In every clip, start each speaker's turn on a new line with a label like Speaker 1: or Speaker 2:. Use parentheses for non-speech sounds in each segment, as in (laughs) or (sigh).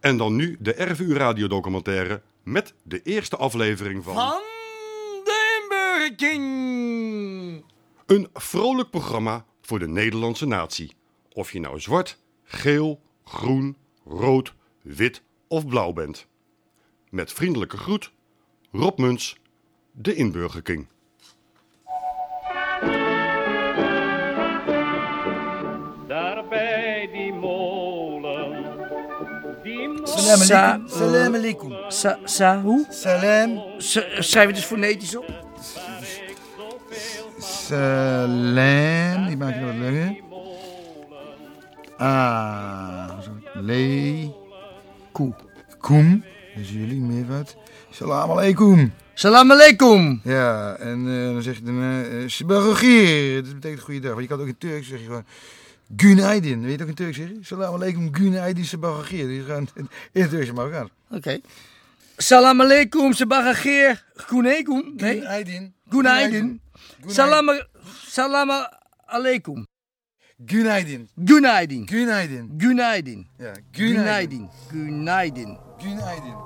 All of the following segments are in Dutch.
Speaker 1: En dan nu de RVU radiodocumentaire met de eerste aflevering van...
Speaker 2: Van de Burger King.
Speaker 1: Een vrolijk programma voor de Nederlandse natie. Of je nou zwart, geel, groen, rood, wit of blauw bent. Met vriendelijke groet, Rob Muns, de Inburger King.
Speaker 3: Daar bij die molen. Die molen.
Speaker 4: Salam alaikum.
Speaker 5: Sa-
Speaker 4: Salam alaikum.
Speaker 5: Sa, sa, hoe?
Speaker 4: Salam.
Speaker 5: Sa- schrijven we dus fonetisch op?
Speaker 4: Salam. Die maak je wat langer. Ah. Zo. Le. Koe. Koem. Dus jullie, meervoud. Salam alaikum.
Speaker 5: Salam alaikum.
Speaker 4: Ja, en eh, dan zeg je daarna... eh, Sbarogir. Dat betekent goeiedag. Maar je kan het ook in Turks zeggen gewoon... Günaydin. Weet je het ook in Turks zeggen? Salam alaikum. Günaydin. Sbarogir. Dat is gewoon (laughs) in het Turks maar elkaar.
Speaker 5: Oké. Salam alaikum, sabagageer, kunekum. Nee,
Speaker 4: Günaydin. Günaydin.
Speaker 5: kunaidin. Salam, salam alaikum.
Speaker 4: Günaydin.
Speaker 5: Gunaidin.
Speaker 4: Günaydin.
Speaker 5: Gunaidin.
Speaker 4: Ja, günaydin.
Speaker 5: Gunaidin. Gunaidin.
Speaker 4: Günaydin.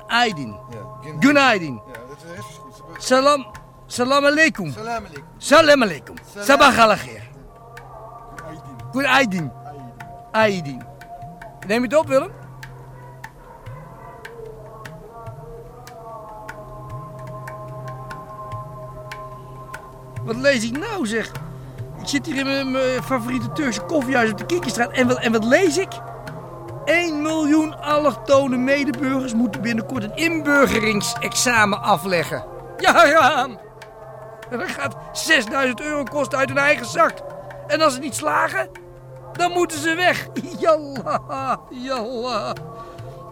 Speaker 5: Gunaidin.
Speaker 4: Ja,
Speaker 5: Gunaidin.
Speaker 4: Ja, dat is echt goed.
Speaker 5: Salam, salam alaikum.
Speaker 4: Salam alaikum.
Speaker 5: Salam alaikum.
Speaker 4: Salam.
Speaker 5: Sabagageer. Gunaidin. Aidin. Neem je het op, Willem? Wat lees ik nou, zeg? Ik zit hier in mijn- mijn favoriete Turkse koffiehuis op de Kikkerstraat. En wat, en wat lees ik? 1 miljoen allochtone medeburgers moeten binnenkort een inburgeringsexamen afleggen. Ja, ja. En dat gaat 6000 euro kosten uit hun eigen zak. En als ze niet slagen, dan moeten ze weg. (laughs) Jalla, jalla.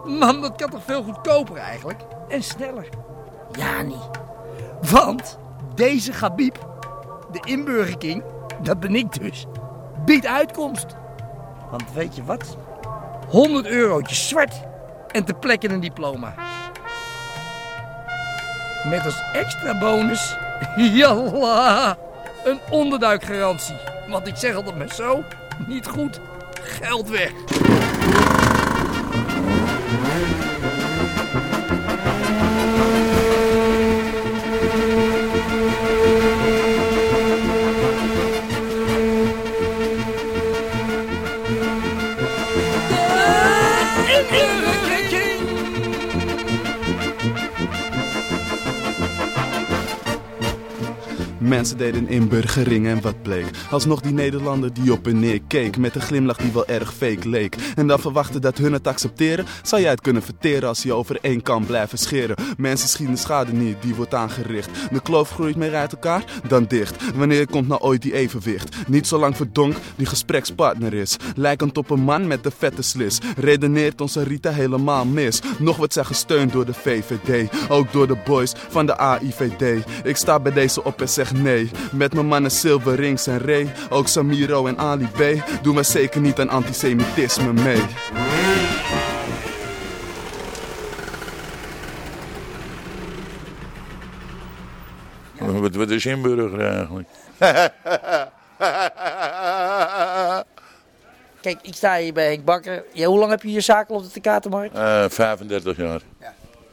Speaker 5: Man, dat kan toch veel goedkoper eigenlijk? En sneller. Ja, niet. Want deze Gabiep, de inburgerking, dat ben ik dus, biedt uitkomst. Want weet je wat? 100 eurotjes zwart en ter plekke een diploma. Met als extra bonus, (laughs) jalla, een onderduikgarantie. Want ik zeg altijd maar zo, niet goed, geld weg.
Speaker 6: Mensen deden inburgering en wat bleek. Alsnog die Nederlander die op en neer keek. Met een glimlach die wel erg fake leek. En dan verwachten dat hun het accepteren. Zou jij het kunnen verteren als je over één kan blijven scheren? Mensen schieten de schade niet, die wordt aangericht. De kloof groeit meer uit elkaar dan dicht. Wanneer komt nou ooit die evenwicht? Niet zolang verdonk die gesprekspartner is. Lijkend op een man met de vette slis. Redeneert onze Rita helemaal mis. Nog wordt zij gesteund door de VVD. Ook door de boys van de AIVD. Ik sta bij deze op en zeg nee. Met mijn mannen Silver Rings en Ray. Ook Samiro en Ali B. Doen we zeker niet aan antisemitisme mee.
Speaker 7: Wat, wat is inburger eigenlijk?
Speaker 5: (laughs) Kijk, ik sta hier bij Henk Bakker. Ja, hoe lang heb je hier zaken op de Tekatenmarkt?
Speaker 7: Eh, 35 jaar.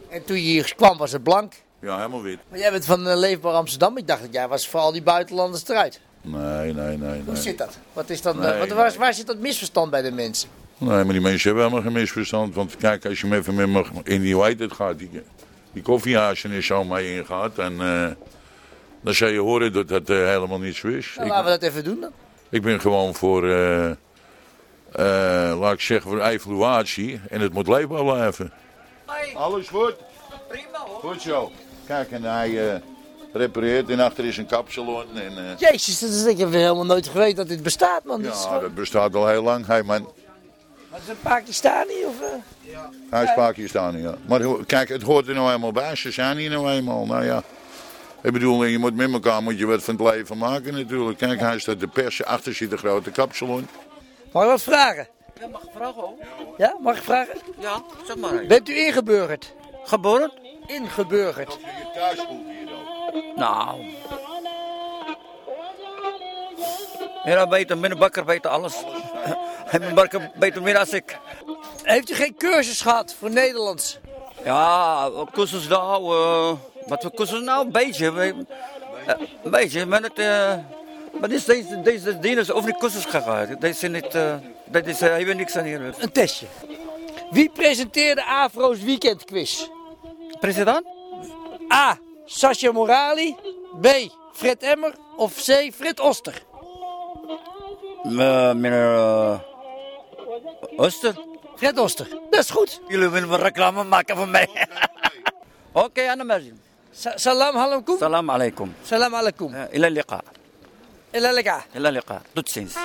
Speaker 5: En toen je hier kwam was het blank.
Speaker 7: Ja, helemaal wit.
Speaker 5: Maar jij bent van eh, Leefbaar Amsterdam. Ik dacht dat jij was voor al die buitenlanders eruit.
Speaker 7: Nee, nee, nee.
Speaker 5: Hoe
Speaker 7: Nee,
Speaker 5: zit dat? Wat is dat, eh,
Speaker 7: Nee,
Speaker 5: wat, waar,
Speaker 7: nee.
Speaker 5: waar zit dat misverstand bij de mensen? Nou,
Speaker 7: nee maar die mensen hebben helemaal geen misverstand. Want kijk, als je hem even met me in die hoe heet het gaat, die, die koffiehazen en zo mee ingaat, en, eh, dan zou je horen dat dat eh, helemaal niet zo is.
Speaker 5: Nou,
Speaker 7: Ik-
Speaker 5: laten we dat even doen dan.
Speaker 7: Ik ben gewoon voor, eh, eh, laat ik zeggen, voor evaluatie. En het moet leefbaar blijven.
Speaker 8: Alles goed? Prima hoor. Goed zo. Kijk, en hij eh, repareert en achter is een kapsalon. En, eh,
Speaker 5: Jezus, dat is, ik heb helemaal nooit geweten dat dit bestaat, man. Dat is,
Speaker 8: ja,
Speaker 5: gewoon-
Speaker 8: dat bestaat al heel lang. Hey, man,
Speaker 5: dat is een Pakistani of... eh?
Speaker 8: hij is Pakistani, ja. Maar ho- kijk, het hoort er nou eenmaal bij. Ze zijn hier nou eenmaal. Nou ja. Ik bedoel, je moet met elkaar moet je wat van het leven maken natuurlijk. Kijk, hij staat de pers, achter zit een grote kapsalon.
Speaker 5: Mag ik wat vragen?
Speaker 9: Ja, mag ik vragen ook?
Speaker 5: Ja, mag ik vragen?
Speaker 9: Ja, zeg maar.
Speaker 5: Bent u ingeburgerd?
Speaker 9: Geboren?
Speaker 5: Ingeburgerd.
Speaker 8: Je thuis voelt hier dan.
Speaker 9: Nou. (laughs) Ja, beter, mijn bakker beter alles. En mijn bakker beter meer als ik. Heeft u geen cursus gehad voor Nederlands? Ja, wat kost ons nou? eh, wat kost ons nou? Een beetje. we- eh, een beetje, maar het... eh, maar dit is deze, deze dienst over de cursus gegaan. Deze zijn niet... eh dat is eh, hebben niks aan hier.
Speaker 5: Een testje. Wie presenteerde Afro's weekendquiz?
Speaker 9: President?
Speaker 5: A. Sascha Morali. B. Fred Emmer. Of C. Fred Oster.
Speaker 9: Uh, meneer... eh, Oster?
Speaker 5: Fred Oster. Dat is goed.
Speaker 9: Jullie willen wel reclame maken voor mij. (laughs) Oké, Annemarie.
Speaker 5: Sa- salam alaikum.
Speaker 9: Salam alaikum.
Speaker 5: Salam alaikum. Ah.
Speaker 9: Eh, Ila liqa.
Speaker 5: Ila lika.
Speaker 9: Ila liqa. Tot ziens.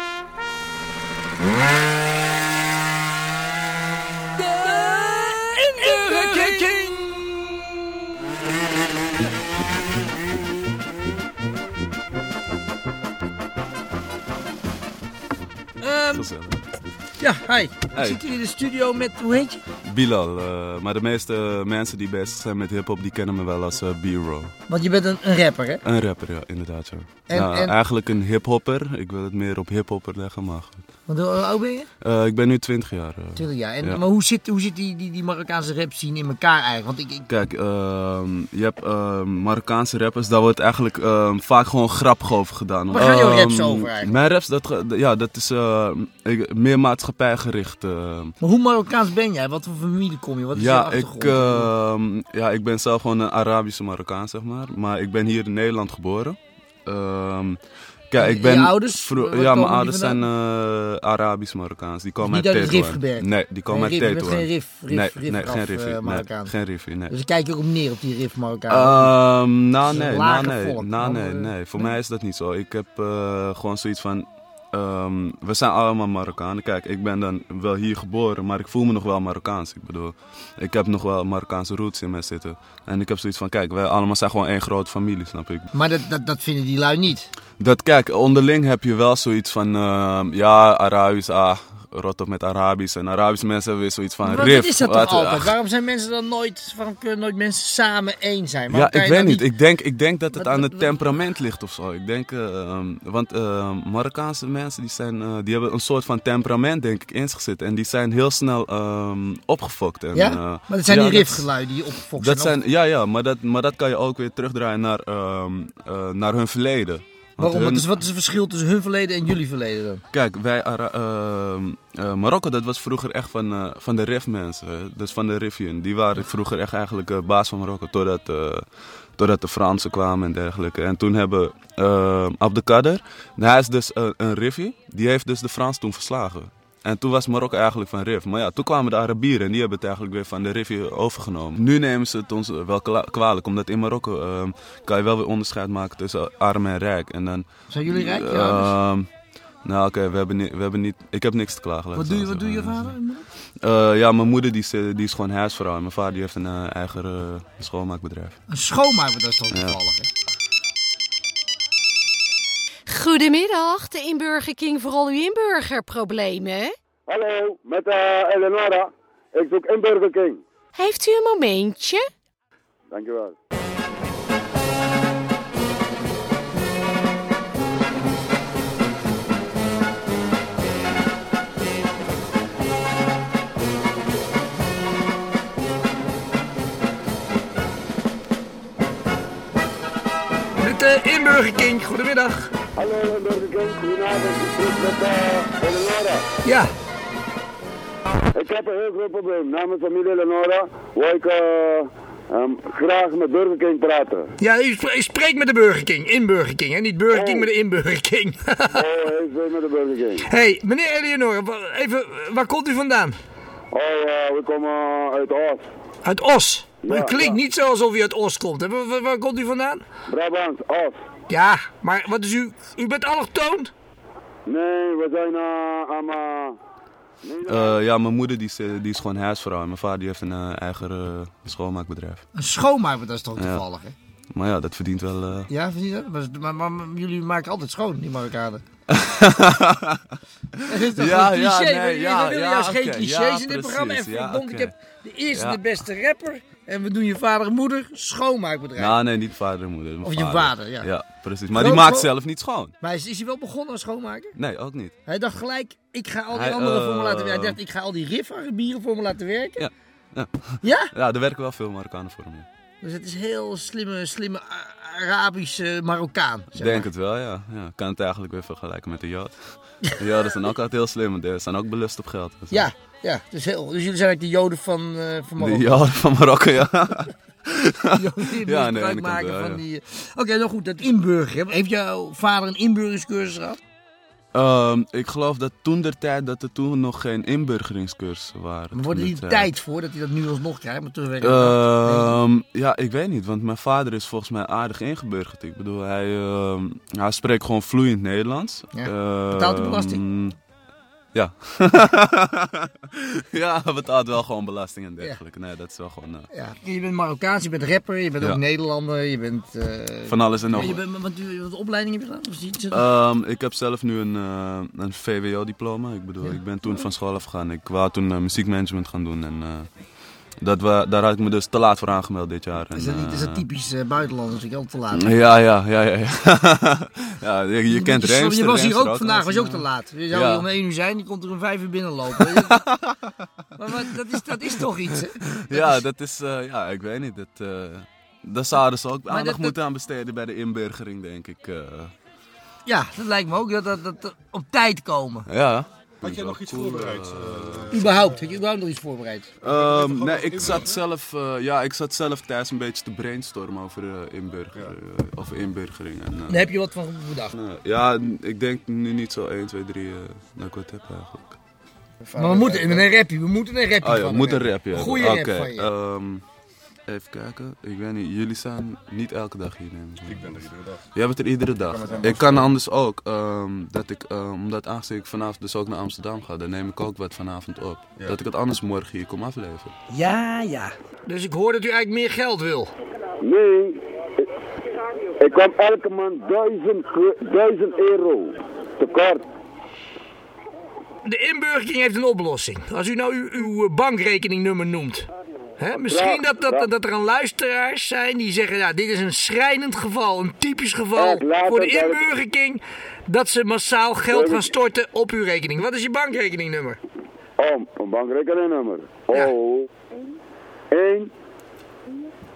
Speaker 10: Burger King.
Speaker 6: Gezellig.
Speaker 5: Ja, hi.
Speaker 6: Hey.
Speaker 5: Ik zit hier Ehm, in de studio met, hoe heet je?
Speaker 6: Bilal, eh, maar de meeste mensen die bezig zijn met hip-hop, die kennen me wel als eh, B-roll.
Speaker 5: Want je bent een, een rapper, hè?
Speaker 6: Een rapper, ja, inderdaad. Ja.
Speaker 5: En-
Speaker 6: Nou,
Speaker 5: en-
Speaker 6: Eigenlijk een hiphopper. Ik wil het meer op hiphopper leggen, maar goed.
Speaker 5: Want hoe hoe oud ben je?
Speaker 6: Eh, ik ben nu 20 jaar. eh.
Speaker 5: 20 jaar. En,
Speaker 6: Ja.
Speaker 5: Maar hoe zit, hoe zit die, die, die Marokkaanse rap scene in elkaar eigenlijk? Want ik, ik
Speaker 6: Kijk, ehm, je hebt ehm, Marokkaanse rappers, daar wordt eigenlijk ehm, vaak gewoon grappig over gedaan.
Speaker 5: Waar gaan jouw raps
Speaker 6: Ehm,
Speaker 5: over eigenlijk?
Speaker 6: Mijn raps, dat, ge- ja, dat is ehm, ik- meer maatschappijgericht. ehm.
Speaker 5: Maar hoe Marokkaans ben jij? Wat voor familie kom je? Wat is
Speaker 6: ja,
Speaker 5: je
Speaker 6: ik,
Speaker 5: achtergrond?
Speaker 6: ehm, ja, ik ben zelf gewoon een Arabische Marokkaan, zeg maar. Maar ik ben hier in Nederland geboren. Ehm,
Speaker 5: En-
Speaker 6: kijk,
Speaker 5: en
Speaker 6: ik ben
Speaker 5: je ouders?
Speaker 6: vro-
Speaker 5: Waar komen
Speaker 6: ja,
Speaker 5: die
Speaker 6: mijn ouders zijn eh Arabisch Marokkaans. Die komen
Speaker 5: Niet
Speaker 6: uit
Speaker 5: uit het
Speaker 6: Tetuan.
Speaker 5: Rifgebergte?
Speaker 6: Nee, die komen
Speaker 5: Geen
Speaker 6: uit
Speaker 5: rif- je bent
Speaker 6: Tetuan.
Speaker 5: geen rif- rif-
Speaker 6: nee,
Speaker 5: rif-
Speaker 6: nee,
Speaker 5: of,
Speaker 6: geen
Speaker 5: eh,
Speaker 6: riffie. nee,
Speaker 5: Marokkaan.
Speaker 6: geen riffie, nee.
Speaker 5: dus ik kijk je ook neer op die riff Marokkaan.
Speaker 6: Ehm nou,
Speaker 5: Het is een
Speaker 6: nee, nou,
Speaker 5: lager
Speaker 6: nee,
Speaker 5: volk,
Speaker 6: nou, nee,
Speaker 5: maar, eh,
Speaker 6: nee. Voor mij is dat niet zo. Ik heb eh, gewoon zoiets van. ehm, we zijn allemaal Marokkanen. Kijk, ik ben dan wel hier geboren, maar ik voel me nog wel Marokkaans. Ik bedoel, ik heb nog wel Marokkaanse roots in mij zitten. En ik heb zoiets van: kijk, wij allemaal zijn gewoon één grote familie, snap ik.
Speaker 5: maar dat, dat, dat vinden die lui niet.
Speaker 6: Dat kijk, onderling heb je wel zoiets van: ehm, ja, Arabisch, ah, rot op met Arabisch. En Arabische mensen hebben weer zoiets van:
Speaker 5: Maar
Speaker 6: rif.
Speaker 5: wat is dat
Speaker 6: wat-
Speaker 5: toch altijd?
Speaker 6: ach.
Speaker 5: Waarom zijn mensen dan nooit, waarom kunnen nooit mensen samen één zijn? Waarom
Speaker 6: Ja,
Speaker 5: kan
Speaker 6: ik
Speaker 5: je
Speaker 6: weet
Speaker 5: dan
Speaker 6: niet. Ik denk, ik denk dat het
Speaker 5: Wat-
Speaker 6: aan het
Speaker 5: wat-
Speaker 6: temperament ligt of zo. Ik denk, eh, ehm, want eh, Marokkaanse mensen die zijn, eh, die hebben een soort van temperament, denk ik, in zich zitten. En die zijn heel snel ehm, opgefokt. En,
Speaker 5: Ja?
Speaker 6: eh,
Speaker 5: Maar dat zijn
Speaker 6: ja,
Speaker 5: die riffgeluiden die je opgefokt
Speaker 6: Dat zijn, ja, ja maar, dat, maar dat kan je ook weer terugdraaien naar, ehm, eh, naar hun verleden. Want eh,
Speaker 5: Waarom? Wat,
Speaker 6: hun-
Speaker 5: is, wat is het verschil tussen hun verleden en jullie verleden dan?
Speaker 6: Kijk, wij Ara- ehm, eh, Marokko, dat was vroeger echt van, eh, van de RIF mensen. hè. Dus van de Rivian. Die waren vroeger echt eigenlijk eh, baas van Marokko. Totdat, eh, totdat de Fransen kwamen en dergelijke. En toen hebben uh, Abdelkader, hij is dus een, een Rifje, die heeft dus de Fransen toen verslagen. En toen was Marokko eigenlijk van Rif. Maar ja, toen kwamen de Arabieren en die hebben het eigenlijk weer van de Rif overgenomen. Nu nemen ze het ons wel kla- kwalijk, omdat in Marokko ehm, kan je wel weer onderscheid maken tussen arm en rijk. En dan
Speaker 5: Zijn jullie rijk? dus- je ouders?
Speaker 6: Ehm, nou, oké, we, hebben ni- we hebben niet. Ik heb niks te klagen. laat
Speaker 5: wat
Speaker 6: ik
Speaker 5: doe je,
Speaker 6: zo
Speaker 5: wat doe je
Speaker 6: zeggen.
Speaker 5: vader? en moeder?
Speaker 6: Eh, ja, mijn moeder die is, eh, die is gewoon huisvrouw. En mijn vader die heeft een eh, eigen eh, schoonmaakbedrijf.
Speaker 5: Een schoonmaker, dat is toch toevallig, hè?
Speaker 11: Goedemiddag, de Inburger King voor al uw inburgerproblemen.
Speaker 12: Hallo, met eh Eleonora. Ik zoek een Burger King.
Speaker 11: Heeft u een momentje?
Speaker 12: Dankjewel.
Speaker 10: Met de Inburger King, goedemiddag.
Speaker 12: Hallo een Burger King, goedenavond. Ik spreek met eh Eleonora.
Speaker 5: Ja,
Speaker 12: Ik heb een heel groot probleem. Namens familie Eleonora wil ik eh, ehm, graag met Burger King
Speaker 5: (laughs)
Speaker 12: praten.
Speaker 5: ja u, spre- u spreekt met de Burger King. In Burger King, hè? Niet Burger King,
Speaker 12: Oh.
Speaker 5: maar de Inburger King.
Speaker 12: Oh, ik spreek met de Burger King.
Speaker 5: hey, meneer Eleonore, wa- even, waar komt u vandaan?
Speaker 12: Oh, eh, we komen uit Oost.
Speaker 5: Uit Os. Maar u
Speaker 12: Ja,
Speaker 5: klinkt
Speaker 12: ja.
Speaker 5: niet zo alsof u uit Os komt. Hè? Waar, waar- waar komt u vandaan?
Speaker 12: Brabant, Oost.
Speaker 5: Ja, maar wat is u... U bent allochtoon?
Speaker 12: Nee, we zijn eh, aan eh,
Speaker 6: Eh, ja, mijn moeder die is, eh, die is gewoon huisvrouw. En mijn vader die heeft een eh, eigen eh, schoonmaakbedrijf.
Speaker 5: Een schoonmaker, dat is toch toevallig, hè?
Speaker 6: Maar ja, dat verdient wel. eh,
Speaker 5: Ja, vind je dat? Maar, maar, maar- maar jullie maken altijd schoon, die
Speaker 6: (laughs)
Speaker 5: Marokkanen. Dat is toch
Speaker 6: Ja,
Speaker 5: een
Speaker 6: ja,
Speaker 5: cliché?
Speaker 6: nee,
Speaker 5: maar jullie
Speaker 6: ja,
Speaker 5: willen
Speaker 6: ja,
Speaker 5: juist
Speaker 6: oké,
Speaker 5: geen clichés
Speaker 6: ja,
Speaker 5: in dit
Speaker 6: precies,
Speaker 5: programma. En
Speaker 6: ja,
Speaker 5: verdomd, ik
Speaker 6: oké.
Speaker 5: heb de eerste
Speaker 6: Ja.
Speaker 5: de beste rapper. En we doen je vader en moeder schoonmaakbedrijf.
Speaker 6: Nou, nee, niet vader en moeder. mijn
Speaker 5: Of Oh, je vader, ja.
Speaker 6: Ja, precies. Maar
Speaker 5: Groot-
Speaker 6: die maakt
Speaker 5: groot-
Speaker 6: zelf niet schoon.
Speaker 5: Maar is, is hij wel begonnen als schoonmaker?
Speaker 6: Nee, ook niet.
Speaker 5: Hij dacht gelijk, ik ga al die
Speaker 6: Hij,
Speaker 5: anderen voor me
Speaker 6: eh,
Speaker 5: laten werken. Hij dacht, ik ga al die riffarbieren voor me laten werken.
Speaker 6: Ja. Ja?
Speaker 5: Ja?
Speaker 6: Ja, er werken wel veel Marokkanen voor hem. ja.
Speaker 5: Dus het is heel slimme, slimme A- Arabische Marokkaan.
Speaker 6: Ik Denk het wel, ja. ja. Kan het eigenlijk weer vergelijken met de Jood. De Joden zijn ook altijd heel slim, want die zijn ook belust op geld. Dus
Speaker 5: Ja, ja. Dus, heel, dus jullie zijn eigenlijk de Joden van, eh van
Speaker 6: De
Speaker 5: Marokko.
Speaker 6: Joden van Marokko, ja.
Speaker 5: (laughs) Die
Speaker 6: Ja, aan de
Speaker 5: misbruik
Speaker 6: ene kant
Speaker 5: maken
Speaker 6: wel,
Speaker 5: van
Speaker 6: ja.
Speaker 5: die... Oké, nou goed, dat inburgeren. Heeft jouw vader een inburgeringscursus gehad?
Speaker 6: Ehm, ik geloof dat toen der tijd dat er toen nog geen inburgeringscursussen waren.
Speaker 5: Maar wordt er
Speaker 6: Toen
Speaker 5: niet
Speaker 6: der tijd.
Speaker 5: tijd voor dat hij dat nu alsnog krijgt? Maar terugwerkende kracht?
Speaker 6: Ehm, ja, ik weet niet, want mijn vader is volgens mij aardig ingeburgerd. Ik bedoel, hij, ehm, hij spreekt gewoon vloeiend Nederlands.
Speaker 5: Ja. Betaalt hij belasting?
Speaker 6: Ehm, Ja. (laughs) ja, hij betaalt wel gewoon belasting en dergelijke. Nee, dat is wel gewoon... eh,
Speaker 5: Ja, je bent Marokkaans, je bent rapper, je bent
Speaker 6: Ja.
Speaker 5: ook Nederlander, je bent... eh,
Speaker 6: Van alles en nog
Speaker 5: je
Speaker 6: wat.
Speaker 5: bent- Wat, wat, wat opleiding heb je gedaan? Of iets?
Speaker 6: Ehm, ik heb zelf nu een, eh, een VWO-diploma. Ik bedoel, ik ben toen van school afgegaan. Ik wou toen eh, muziekmanagement gaan doen. En, eh, dat wa- daar had ik me dus te laat voor aangemeld dit jaar. En,
Speaker 5: is dat niet is dat
Speaker 6: eh,
Speaker 5: typisch eh buitenlanders? Ik al te laat.
Speaker 6: Ja, ja, ja, ja. ja. (laughs) ja je, je kent
Speaker 5: Je-
Speaker 6: Reemster.
Speaker 5: Je was hier
Speaker 6: Reemster
Speaker 5: ook vandaag, was je ook te laat. Je zou
Speaker 6: Ja.
Speaker 5: hier om één uur zijn, je komt er om vijf uur
Speaker 6: (laughs)
Speaker 5: binnenlopen. maar wat, dat, is, dat is toch iets, hè?
Speaker 6: Ja, dat is, eh, ja, ik weet niet. Dat, eh daar zouden ze ook
Speaker 5: Maar
Speaker 6: aandacht
Speaker 5: dat- dat-
Speaker 6: moeten aan besteden bij de inburgering, denk ik. eh.
Speaker 5: Ja, dat lijkt me ook, dat, dat, dat dat op tijd komen.
Speaker 6: ja.
Speaker 1: Had jij nog iets eh? voorbereid?
Speaker 5: Überhaupt, heb je überhaupt nog iets voorbereid?
Speaker 6: Ehm, nee, ik zat, zelf, eh, ja, ik zat zelf thuis een beetje te brainstormen over, eh, inburger, eh, over inburgering. En, eh,
Speaker 5: Daar heb je wat van bedacht.
Speaker 6: nee. ja, ik denk nu niet zo 1, 2, 3 eh dat ik wat heb eigenlijk.
Speaker 5: Maar we moeten een rappie, we moeten een rappie
Speaker 6: Oh ja,
Speaker 5: van
Speaker 6: moet
Speaker 5: hem
Speaker 6: een rap, ja.
Speaker 5: Een goede rap
Speaker 6: Oké,
Speaker 5: van je.
Speaker 6: ehm, even kijken. Ik weet niet, jullie zijn niet elke dag hier, neem ik.
Speaker 1: Ik ben er iedere dag.
Speaker 6: Jij bent er iedere dag.
Speaker 1: met hem
Speaker 6: Ik kan anders ook, ehm, dat ik, ehm, omdat aangezien ik vanavond dus ook naar Amsterdam ga, dan neem ik ook wat vanavond op. Dat ik het anders morgen hier kom afleveren.
Speaker 5: Ja, ja. Dus ik hoor dat u eigenlijk meer geld wil.
Speaker 12: Nee, ik- ik kwam elke maand 1000, gro- 1000 euro tekort.
Speaker 5: De inburgering heeft een oplossing. Als u nou uw, uw eh, bankrekeningnummer noemt. Hè? Misschien dat, dat, dat, er een luisteraars zijn die zeggen... Ja, dit is een schrijnend geval, een typisch geval
Speaker 12: Ja, laat
Speaker 5: voor de
Speaker 12: het uit.
Speaker 5: inburgering... dat ze massaal geld gaan storten op uw rekening. Wat is je bankrekeningnummer?
Speaker 12: Om, een bankrekeningnummer. Oh. 1,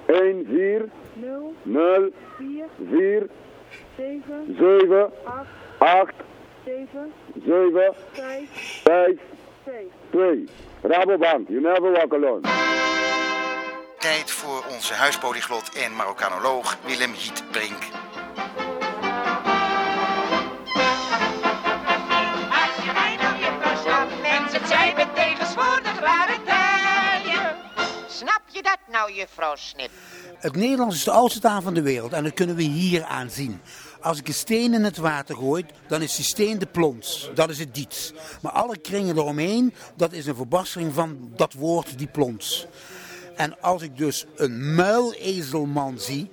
Speaker 12: 1, 4, 0, 4, 7, 8, 7, 5, 2. Rabobank, you never walk alone.
Speaker 13: Tijd voor onze huispolyglot en Marokkanoloog Willem Hietbrink.
Speaker 14: Als je mij nou je pas af bent, het zijn we tegenwoordig rare tijden. Snap je dat nou, juffrouw Snip?
Speaker 15: Het Nederlands is de oudste taal van de wereld en dat kunnen we hier aanzien. Als ik een steen in het water gooi, dan is die steen de plons. Dat is het diets. Maar alle kringen eromheen, dat is een verbastering van dat woord, die plons. En als ik dus een muilezelman zie,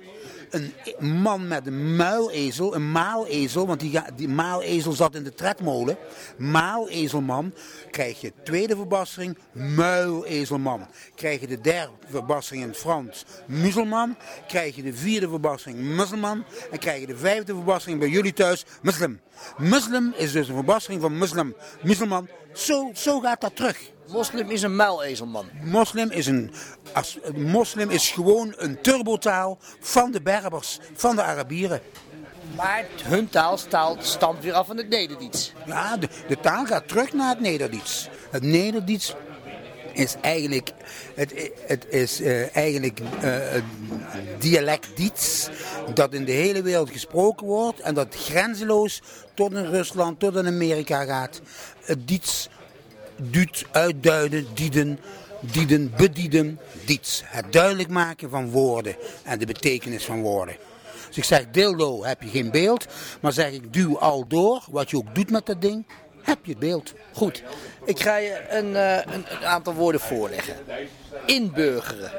Speaker 15: een e- man met een muilezel, een maalezel, want die, ga- die maalezel zat in de tredmolen. Maalezelman, krijg je tweede verbastering, muilezelman. Krijg je de derde verbastering in het Frans, muzelman. Krijg je de vierde verbastering, muzelman. En krijg je de vijfde verbastering bij jullie thuis, moslim. Moslim is dus een verbastering van moslim, muzelman. Zo, zo gaat dat terug.
Speaker 5: Moslim is een muilezelman.
Speaker 15: Moslim is, een, as- een moslim is gewoon een turbotaal van de Berbers, van de Arabieren.
Speaker 5: Maar hun taal stamt weer af van het Nederdiets.
Speaker 15: Ja, de, de taal gaat terug naar het Nederdiets. Het Nederdiets is eigenlijk, het, het is, eh, eigenlijk eh, een dialectdiets dat in de hele wereld gesproken wordt en dat grenzeloos tot in Rusland, tot in Amerika gaat. Het diets duut, uitduiden, dieden, dieden, bedieden, diets. Het duidelijk maken van woorden en de betekenis van woorden. Dus ik zeg dildo heb je geen beeld, maar zeg ik duw al door, wat je ook doet met dat ding, heb je het beeld.
Speaker 5: Goed, ik ga je een, eh, een, een aantal woorden voorleggen. Inburgeren.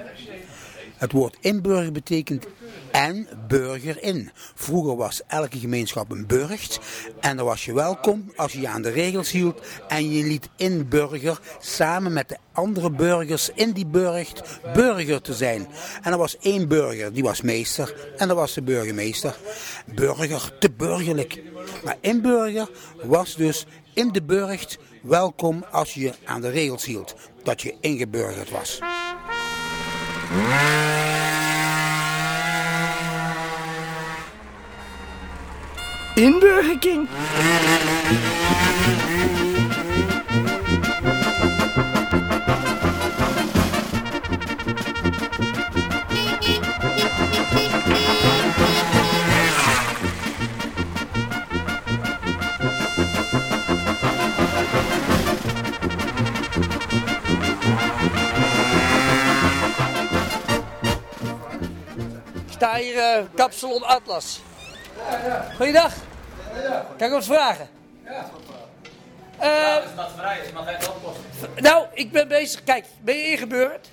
Speaker 15: Het woord inburger betekent en burger in. Vroeger was elke gemeenschap een burcht en dan was je welkom als je je aan de regels hield en je liet inburger samen met de andere burgers in die burcht burger te zijn. En er was één burger, die was meester en dat was de burgemeester. Burger, te burgerlijk. Maar inburger was dus in de burcht welkom als je je aan de regels hield, dat je ingeburgerd was.
Speaker 14: In Burger King.
Speaker 5: Ik sta hier eh kapsalon Atlas. Goeiedag. Kan ik wat vragen? Eh,
Speaker 16: is vrij, dus mag even oplossen.
Speaker 5: nou, ik ben bezig. Kijk, ben je ingeburgerd?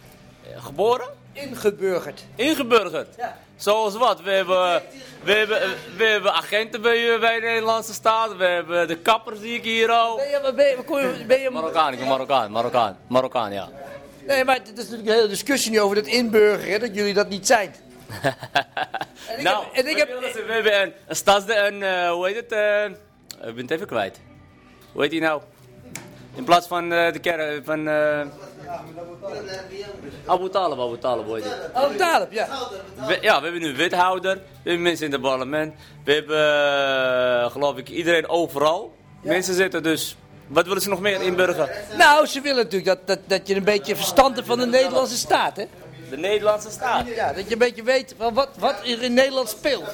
Speaker 16: Geboren?
Speaker 5: Ingeburgerd.
Speaker 16: Ingeburgerd?
Speaker 5: Ja.
Speaker 16: Zoals wat? We hebben, we hebben, we hebben agenten bij, eh, bij de Nederlandse staat. We hebben de kappers die ik hier al.
Speaker 5: Ben je, maar ben je, kon je- ben je-
Speaker 16: Marokkaan, ik ben Marokkaan, Marokkaan, Marokkaan, ja.
Speaker 5: nee, maar het is natuurlijk een hele discussie nu over dat inburgeren, dat jullie dat niet zijn.
Speaker 16: nou,
Speaker 5: en ik
Speaker 16: we,
Speaker 5: heb-
Speaker 16: willen ze- we hebben een, een stads... Een, eh, hoe heet het? eh, ik ben het even kwijt. Hoe heet die nou? In plaats van eh, de kerk van... eh Abu Talib, Abu Talib, hoe heet die?
Speaker 5: Oh, Talib, ja.
Speaker 16: We- ja, we hebben nu een wethouder, we hebben mensen in het parlement, we hebben eh, geloof ik iedereen overal. Mensen zitten dus. Wat willen ze nog meer inburgeren?
Speaker 5: Nou, ze willen natuurlijk dat, dat, dat je een beetje verstand hebt van de Nederlandse staat, hè?
Speaker 16: De Nederlandse staat?
Speaker 5: Ja, dat je een beetje weet van wat, wat er in Nederland speelt.